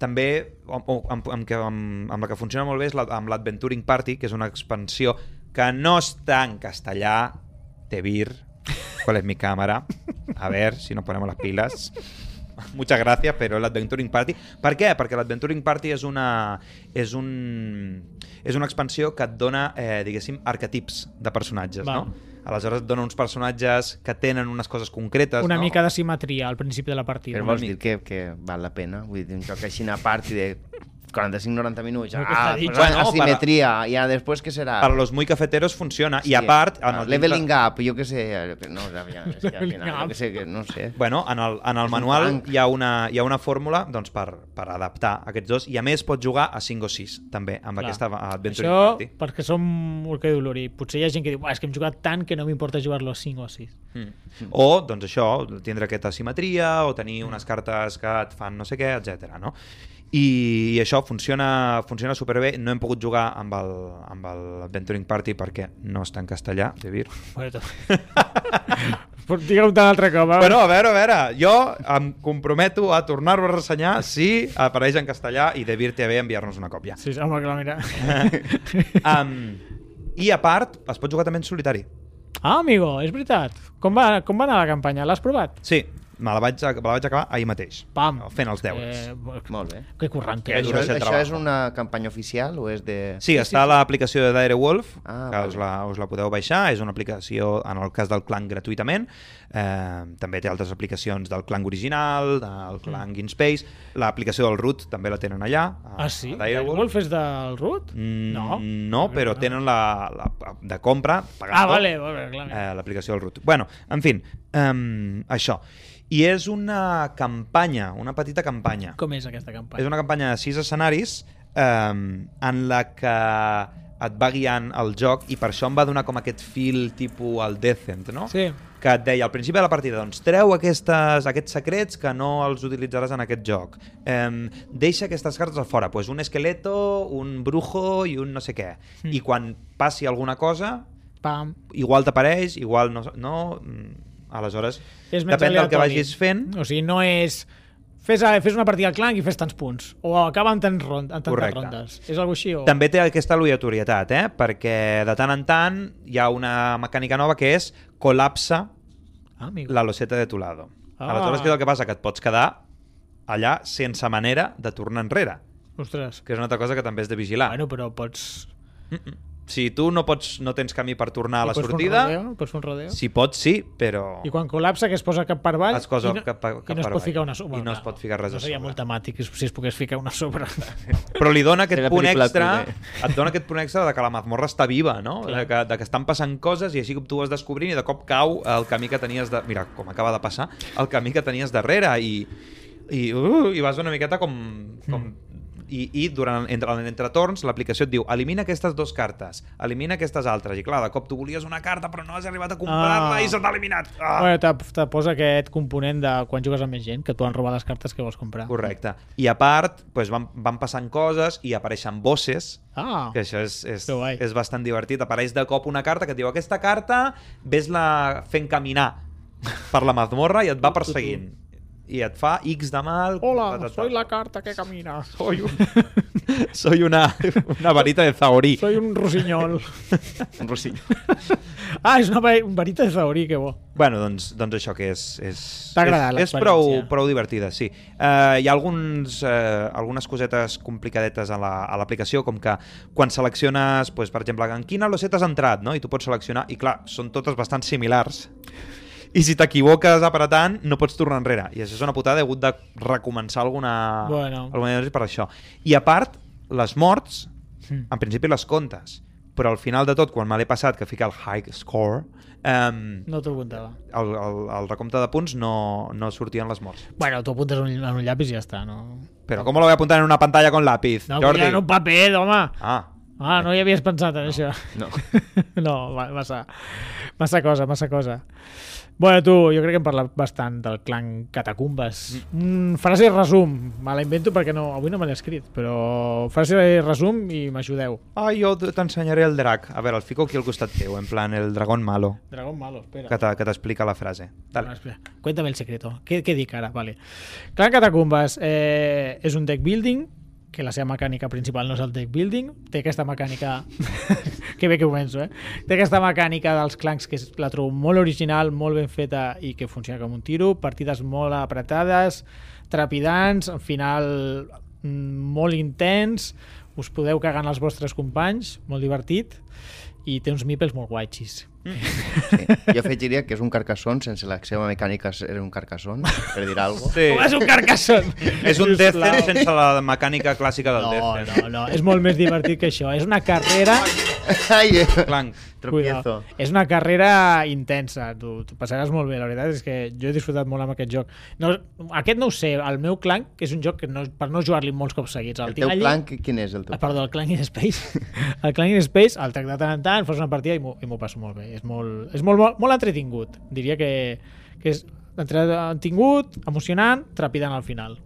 S3: també o, o, amb, amb, que, amb, amb la que funciona molt bé és la, amb l'Adventuring Party, que és una expansió que no està en castellà, te vir, ¿cuál es mi cámara? A ver si nos ponemos las pilas. Muchas gracias, pero el Adventuring Party... Per què? Perquè l'Adventuring Party és una, és, un, és una expansió que et dona, eh, diguéssim, arquetips de personatges,
S1: Va.
S3: no? Aleshores et dona uns personatges que tenen unes coses concretes,
S1: Una
S3: no?
S1: mica de simetria al principi de la partida. eh?
S2: Però
S1: no?
S2: vols dir que, que val la pena? Vull dir, un joc així a part i de 45-90 minuts,
S1: El
S2: ja,
S1: que està
S2: ah,
S1: dit.
S2: pues,
S3: Bueno,
S2: bueno, asimetria, ja després què serà?
S3: Per los muy cafeteros funciona. I
S2: Sí,
S3: a part... en
S2: ah,
S3: el
S2: leveling
S3: llibre-
S2: up, jo què sé, eh, no, ja, ja, és que al
S1: Leveling
S2: final, jo
S1: up.
S2: què sé, que no sé.
S3: Bueno, en el, en el
S2: un
S3: manual
S2: tanc.
S3: hi ha, una, hi ha una fórmula doncs, per, per adaptar aquests dos i a més pots jugar a 5 o 6 també amb
S1: Clar.
S3: aquesta Adventure
S1: Això,
S3: Party.
S1: perquè som el que diu l'Uri. Potser hi ha gent que diu, "Buah, és que hem jugat tant que no m'importa jugar-lo a 5 o 6.
S3: Mm. O, doncs això, tindre aquesta simetria o tenir unes cartes que et fan no sé què, etc. no? I, i això funciona, funciona superbé. No hem pogut jugar amb el, amb el Adventuring Party perquè no està en castellà, de vir.
S1: Bueno, Digue-ho un altre cop.
S3: Bueno, a veure, a veure, jo em comprometo a tornar-ho a ressenyar si apareix en castellà i de vir TV enviar-nos una còpia.
S1: Sí, home, clar, mira.
S3: Um, I a part, es pot jugar també en solitari.
S1: ah, amigo, és veritat. Com va, com va anar la campanya? L'has provat?
S3: Sí, me la vaig, me la vaig acabar ahir mateix.
S1: Pam.
S3: Fent els deures. Eh...
S2: Molt bé.
S1: que currant que
S3: Que
S1: és.
S3: dura
S2: Això,
S3: ser
S2: això
S3: trabajo.
S2: és una campanya oficial o és de...
S3: Sí, està a l'aplicació de Direwolf,
S2: Ah,
S3: que us
S2: vale.
S3: la, us la podeu baixar. És una aplicació, en el cas del clan, gratuïtament. Eh, també té altres aplicacions del clan original, del clan mm. InSpace. L'aplicació del Root també la tenen allà. A,
S1: Ah, sí?
S3: a
S1: El
S3: Direwolf.
S1: golf és del Root?
S3: Mm,
S1: No.
S3: no, però tenen la, la de compra, pagant
S1: Ah,
S3: tot.
S1: vale, vale, clar. mira.
S3: eh, l'aplicació del root. Bueno, en fi, um, això. I és una campanya, una petita campanya.
S1: Com és aquesta campanya?
S3: És una campanya de sis escenaris um, en la que et va guiant el joc i per això em va donar com aquest fil tipus el Decent, no?
S1: Sí.
S3: que et deia al principi de la partida, doncs treu aquestes, aquests secrets que no els utilitzaràs en aquest joc. Em, deixa aquestes cartes a fora, pues un esqueleto, un brujo i un no sé què.
S1: Mm.
S3: Mm. I quan passi alguna cosa,
S1: Pam.
S3: igual t'apareix, igual no... no mm, aleshores,
S1: És més
S3: depèn del que
S1: aleatori.
S3: vagis fent.
S1: O sigui, no és... Fes, a- fes una partida al clanc i fes tants punts. O acaba amb, tants ron, amb tantes
S3: Correcte.
S1: rondes. És alguna així? O...
S3: També té aquesta aleatorietat, eh? perquè de tant en tant hi ha una mecànica nova que és col·lapsa
S1: Ah, amigo.
S3: la loseta de tu lado.
S1: Ah.
S3: Ah. Aleshores, què és el que passa? Que et pots quedar allà sense manera de tornar enrere,
S1: Ostres.
S3: que és una altra cosa que també has de vigilar.
S1: Bueno, però pots...
S3: Si tu no pots, no tens camí per tornar a la
S1: pots fer un
S3: sortida,
S1: rodeo? Pots fer un rodeo?
S3: si pots, sí, però...
S1: I quan col·lapsa que es posa cap per avall
S3: Es posa
S1: i no,
S3: cap a-
S1: i
S3: cap
S1: no es
S3: per
S1: pot
S3: avall.
S1: ficar una sobre.
S3: I no es pot ficar res
S1: no
S3: a
S1: seria
S3: sobre.
S1: molt temàtic si es pogués ficar una sobre.
S3: Però li dona aquest
S2: Era
S3: punt
S2: pel·lícula
S3: extra,
S2: culer.
S3: et dona aquest punt extra de que la mazmorra està viva, no?
S1: Clar.
S3: De que, de que estan passant coses i així com tu ho vas descobrint i de cop cau el camí que tenies de... Mira, com acaba de passar, el camí que tenies darrere i, i, uh, i vas una miqueta com...
S1: Mm.
S3: com i, i durant, entre, entre torns l'aplicació et diu elimina aquestes dues cartes, elimina aquestes altres i clar, de cop tu volies una carta però no has arribat a comprar-la
S1: Ah.
S3: i se t'ha eliminat ah.
S1: Bueno, te, te posa aquest component de quan jugues amb més gent, que t'ho han robat les cartes que vols comprar.
S3: correcte, i a part doncs van, van passant coses i apareixen bosses
S1: Ah,
S3: Que això és, és,
S1: Que guai.
S3: és bastant divertit. Apareix de cop una carta que et diu aquesta carta ves-la fent caminar per la mazmorra i et va perseguint. I et fa X de mal... ta, ta,
S1: hola,
S3: ta.
S1: soy la carta que camina.
S3: Soy, un... soy una, una varita de zaorí.
S1: Soy un rossinyol.
S2: Un rossinyol.
S1: ah, és una ve- varita de saurí, que bo.
S3: Bueno, doncs, doncs això que és... és
S1: T'ha agradat
S3: És, és
S1: l'experiència?
S3: prou, prou divertida, sí. Uh, hi ha alguns, uh, algunes cosetes complicadetes a la- a l'aplicació, la, com que quan selecciones, pues, per exemple, en quina loseta has entrat, no? i tu pots seleccionar, i clar, són totes bastant similars, i si t'equivoques apretant, no pots tornar enrere. I això és una putada, he hagut de recomençar alguna...
S1: Bueno.
S3: alguna cosa per això. I a part, les morts,
S1: Mm.
S3: en principi les comptes, però al final de tot, quan me l'he passat, que fica el high score, um,
S1: No t'ho apuntava.
S3: el, el, el recompte de punts no, no sortien les morts.
S1: Bueno, t'ho apuntes en un, en un llapis i ja està, no?
S3: Però com lo voy a apuntar en una pantalla con lápiz,
S1: No,
S3: Jordi?
S1: Jordi. en un paper, home.
S3: Ah,
S1: Ah, no hi havies pensat en no. això.
S2: No.
S1: No, va- massa, massa cosa, massa cosa. Bueno, tu, jo crec que hem parlat bastant del clan Catacumbes. Mm. frase resum, me la invento perquè no, avui no me l'he escrit, però frase resum i m'ajudeu.
S3: Ah, jo t- t'ensenyaré el drac. A veure, el fico aquí al costat teu, en plan el dragón malo,
S1: Dragón malo, espera.
S3: que t'a- que t'explica la frase.
S1: Bueno,
S3: Dale.
S1: espera. Cuéntame el secreto. ¿Qué, qué dic ara? Vale. Clan Catacumbes eh, és un deck building que la seva mecànica principal no és el deck building, té aquesta mecànica... que bé que començo, eh? Té aquesta mecànica dels clans que és- la trobo molt original, molt ben feta i que funciona com un tiro, partides molt apretades, trepidants, al final mm, molt intens, us podeu cagar en els vostres companys, molt divertit, i té uns meeples molt guatxis.
S2: Sí. Jo afegiria que és un carcasson sense la seva mecànica ser un carcasson, per dir alguna cosa.
S3: Sí.
S1: Com és un carcasson!
S3: És un Death
S1: Sisplau.
S3: Sense sense la mecànica clàssica del
S1: No,
S3: Death
S1: no, no, és molt més divertit que això. És una carrera...
S2: Ai, eh,
S3: Clank.
S2: tropiezo.
S1: Cuidao. És una carrera intensa. Tu, tu passaràs molt bé, la veritat és que jo he disfrutat molt amb aquest joc. No, aquest no ho sé, el meu clanc és un joc que no, per no jugar-li molts cops seguits. El,
S2: El teu
S1: tinc allí-
S2: clan, qui- quin és el teu?
S1: Ah, perdó, el Clank in Space. El Clank in Space, el tracte de tant en tant, fas una partida i m'ho i m'ho passo molt bé. És molt, és molt, molt, molt entretingut. Diria que, que és entretingut, emocionant, trepidant al final.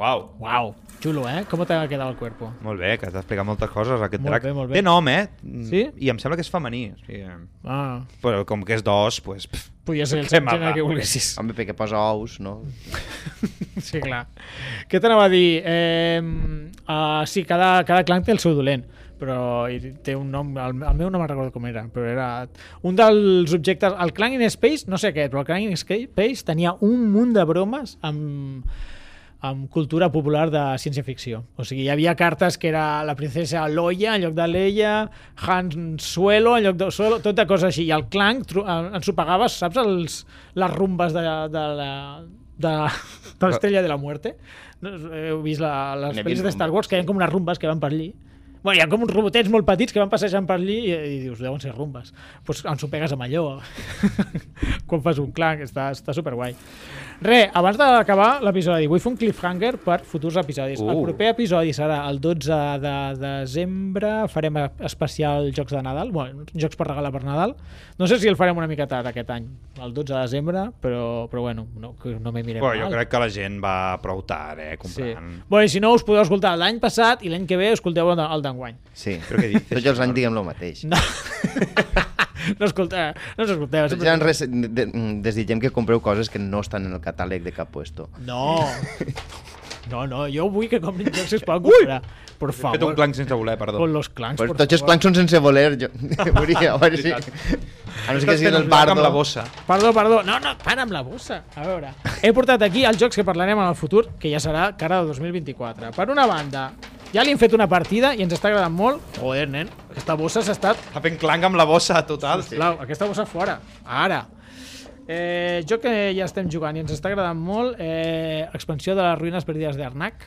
S3: Uau.
S1: Uau, xulo, eh? Com t'ha quedat el cuerpo?
S3: Molt bé, que has d'explicar moltes coses, aquest
S1: Molt
S3: drac.
S1: bé, molt bé.
S3: Té nom, eh?
S1: Sí?
S3: I em sembla que és femení. O sigui,
S1: Ah,
S3: però com que és d'os, pues, pff,
S1: podia ser el
S3: Què m'ha-
S1: gènere que volguessis.
S2: Home, perquè posa ous, no?
S1: Sí, clar. Què t'anava a dir? Eh, uh, sí, cada, cada clan té el seu dolent, però i té un nom, el, el meu no me'n recordo com era, però era un dels objectes, el clan in space, no sé què, però el clan in space tenia un munt de bromes amb, amb cultura popular de ciència-ficció. O sigui, hi havia cartes que era la princesa Loia en lloc de Leia, Han Suelo en lloc de Suelo, tot de coses així. I el clanc tru- eh, ens ho pagaves, saps, els, les rumbes de, de la de, de l'Estrella de la Muerte. No, heu vist la, les
S2: N'he
S1: pel·lis
S2: vist
S1: de Star
S2: rumbes,
S1: Wars, que hi ha com unes rumbes que van per allí. Bueno, hi ha com uns robotets molt petits que van passejant per allí i, i dius, deuen ser rumbes. Doncs pues ens ho pegues amb allò. Quan fas un clanc, està, està superguai. Re, abans d'acabar l'episodi, vull fer un cliffhanger per futurs episodis. Uh. El
S3: Uh.
S1: proper episodi serà el 12 de desembre, farem especial Jocs de Nadal, bueno, Jocs per regalar per Nadal. No sé si el farem una mica tard aquest any, el 12 de desembre, però, però bueno, no, que no m'hi mirem
S3: bueno, jo
S1: mal.
S3: crec que la gent va prou tard, eh,
S1: Sí.
S3: comprant. Sí.
S1: Bueno, i si no, us podeu escoltar l'any passat i l'any que ve escolteu el de- el d'enguany.
S2: Sí.
S3: Però què dices,
S2: Tots els anys diguem el mateix.
S1: No. no, escolta, no us escolteu.
S2: Tots
S1: sempre-
S2: els anys res- de- mm, desitgem que compreu coses que no estan en el catàleg de cap puesto.
S1: No. No, no, jo vull que comprin jocs si es poden comprar. Por
S3: He fet un
S1: favor.
S3: clanc sense voler, perdó.
S1: Con los clans,
S2: Però
S1: por
S2: tots els
S1: favor.
S2: plans són sense voler, jo. Volia, a veure si... A no ser que
S3: Estàs fent
S2: siguin
S3: un
S2: el
S3: clanc amb la
S2: bardo.
S3: bossa.
S1: Perdó, perdó. No, no, para amb la bossa. A veure. He portat aquí els jocs que parlarem en el futur, que ja serà cara del 2024. Per una banda, ja li hem fet una partida i ens està agradant molt. Joder, nen, aquesta bossa s'ha estat...
S3: Està fent clanc amb la bossa, total.
S1: Sí. Blau, aquesta bossa fora. Ara. Eh, jo que ja estem jugant i ens està agradant molt, eh, expansió de les ruïnes perdides d'Arnac.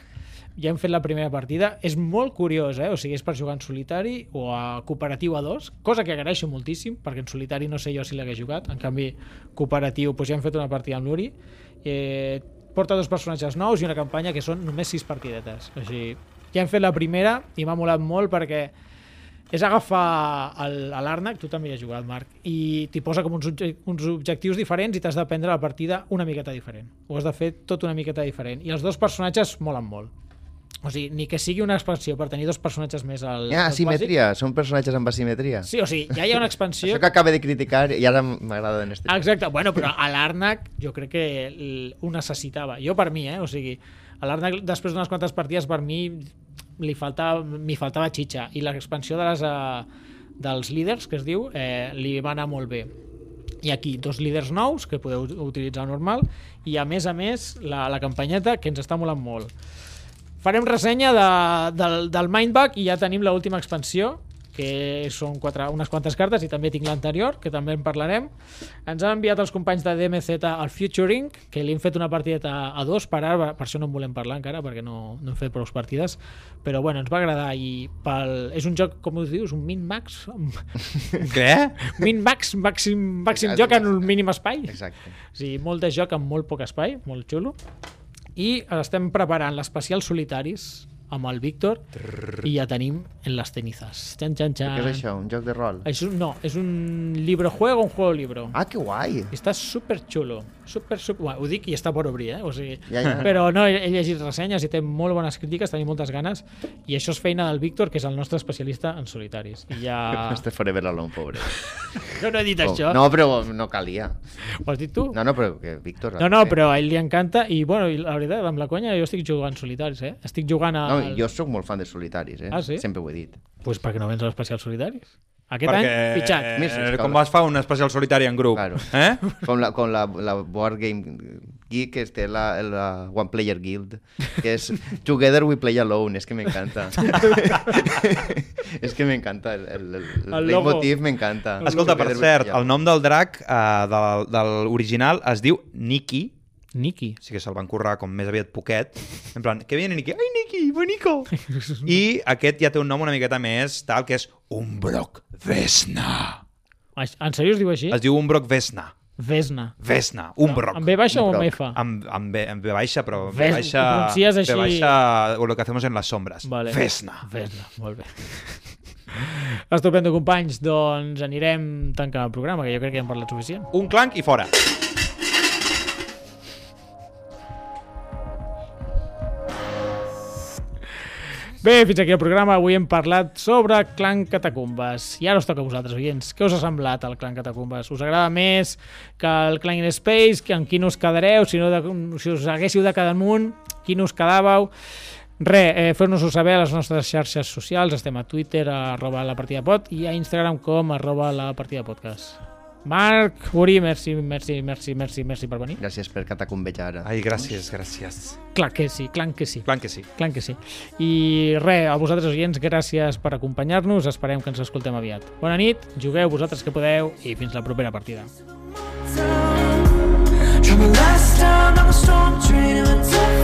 S1: Ja hem fet la primera partida. És molt curiós, eh? O sigui, és per jugar en solitari o a cooperatiu a dos, cosa que agraeixo moltíssim, perquè en solitari no sé jo si l'hagués jugat. En canvi, cooperatiu, doncs ja hem fet una partida amb l'Uri. Eh, porta dos personatges nous i una campanya que són només sis partidetes. O sigui, ja hem fet la primera i m'ha molat molt perquè és agafar el- a l'Arnac, tu també hi has jugat, Marc, i t'hi posa com uns, obje uns objectius diferents i t'has de prendre la partida una miqueta diferent. Ho has de fer tot una miqueta diferent. I els dos personatges molen molt. O sigui, ni que sigui una expansió per tenir dos personatges més al...
S2: Ah,
S1: al
S2: asimetria. Són personatges amb asimetria.
S1: bàsic. Sí, o sigui, ja hi ha una
S2: Això
S1: expansió...
S2: que acaba de criticar i ara m'agrada en este...
S1: Ah, Exacte, bueno, però a l'Arnac jo crec que l- ho necessitava. Jo per mi, eh? O sigui, a l'Arnac després d'unes quantes partides per mi li faltava, m'hi faltava xitxa i l'expansió de les, eh, dels líders, que es diu, eh, li va anar molt bé. I aquí dos líders nous que podeu utilitzar normal i a més a més la, la campanyeta que ens està molant molt. Farem ressenya de, del, del Mindbug i ja tenim l'última expansió que són quatre, unes quantes cartes i també tinc l'anterior, que també en parlarem ens han enviat els companys de DMZ al Futuring, que li hem fet una partideta a dos per ara, per això no en volem parlar encara perquè no, no hem fet prou partides però bueno, ens va agradar i pel... és un joc, com ho dius, un min-max
S3: Què?
S1: min-max, màxim, màxim joc en un mínim espai
S2: Exacte.
S1: o sigui, molt de joc amb molt poc espai, molt xulo. I estem preparant l'especial solitaris amb el Víctor i ja tenim en les tenizas. Xan, xan, xan.
S2: Què és això? Un joc de rol?
S1: Això no, és un libro-juego, un juego-libro.
S2: Ah, que guai!
S1: Està super xulo, super, super... Bueno, ho dic i està per obrir, eh? O sigui,
S2: Ja, ja.
S1: Però no, he he llegit ressenyes i té molt bones crítiques, tenim moltes ganes, i això és feina del Víctor, que és el nostre especialista en solitaris. I ja...
S2: Este forever alone, pobre.
S1: Jo no he dit
S2: Oh,
S1: Ah. això,
S2: No, però no calia.
S1: ho has dit tu?
S2: No, no, però que Víctor... eh,
S1: No, no, però a ell li encanta i, bueno, i la veritat, amb la conya jo estic jugant solitaris, eh? Estic jugant a...
S2: No, jo sóc molt fan de solitaris, eh?
S1: Ah, sí?
S2: Sempre ho he dit.
S1: Pues perquè no vens a l'especial solitaris. Aquest any, fitxat.
S3: Perquè,
S2: Més
S3: eh,
S2: escala.
S3: com vas fa un especial solitari en grup.
S2: Claro.
S3: Eh?
S2: Com la, com la, la Board Game Geek, que té la, la One Player Guild, que és Together We Play Alone, és que m'encanta. és que m'encanta, el, el,
S1: El
S2: el, el
S1: logo.
S2: leitmotiv m'encanta.
S3: Escolta, per
S2: Together we
S3: cert,
S2: play alone.
S3: el nom del drac eh, del, de l'original es diu Nikki,
S1: Niki.
S3: sí que se'l van currar com més aviat poquet, en plan, que viene Nikki, ai Nikki, bonico! I aquest ja té un nom una miqueta més tal, que és Umbroc Vesna.
S1: En sèrio es diu així?
S3: Es diu Umbroc Vesna.
S1: Vesna.
S3: Vesna, Umbroc.
S1: Amb B baixa o amb
S2: Broc.
S1: F?
S3: Amb, amb, B, amb B baixa, però B
S1: Ves-
S3: baixa,
S1: ho pronuncies així.
S3: B baixa o lo que hacemos en las sombras.
S1: Vale.
S3: Vesna.
S1: Vesna, molt bé. Estupendo, companys. Doncs anirem tancant el programa, que jo crec que ja hem parlat suficient.
S3: Un clanc i fora.
S1: Bé, fins aquí el programa. Avui hem parlat sobre Clan Catacumbes. I ara us toca a vosaltres, oients. Què us ha semblat el Clan Catacumbes? Us agrada més que el Clan in Space? Que en quin us quedareu? Si, no de, si us haguéssiu de quedar amunt, quin us quedàveu? Res, eh, feu-nos-ho saber a les nostres xarxes socials. Estem a Twitter, a arroba la partida pot, i a Instagram com arroba la partida podcast. Marc, Uri, merci, merci, merci, merci, merci per venir.
S2: Gràcies per catacombejar.
S3: Ai, gràcies, gràcies.
S1: Clar que sí, clan que sí.
S3: Clanc que sí.
S1: Clar que sí. I res, a vosaltres, oients, gràcies per acompanyar-nos. Esperem que ens escoltem aviat. Bona nit, jugueu vosaltres que podeu i fins la propera partida.
S5: Trouble last time, I'm a storm train, I'm a tough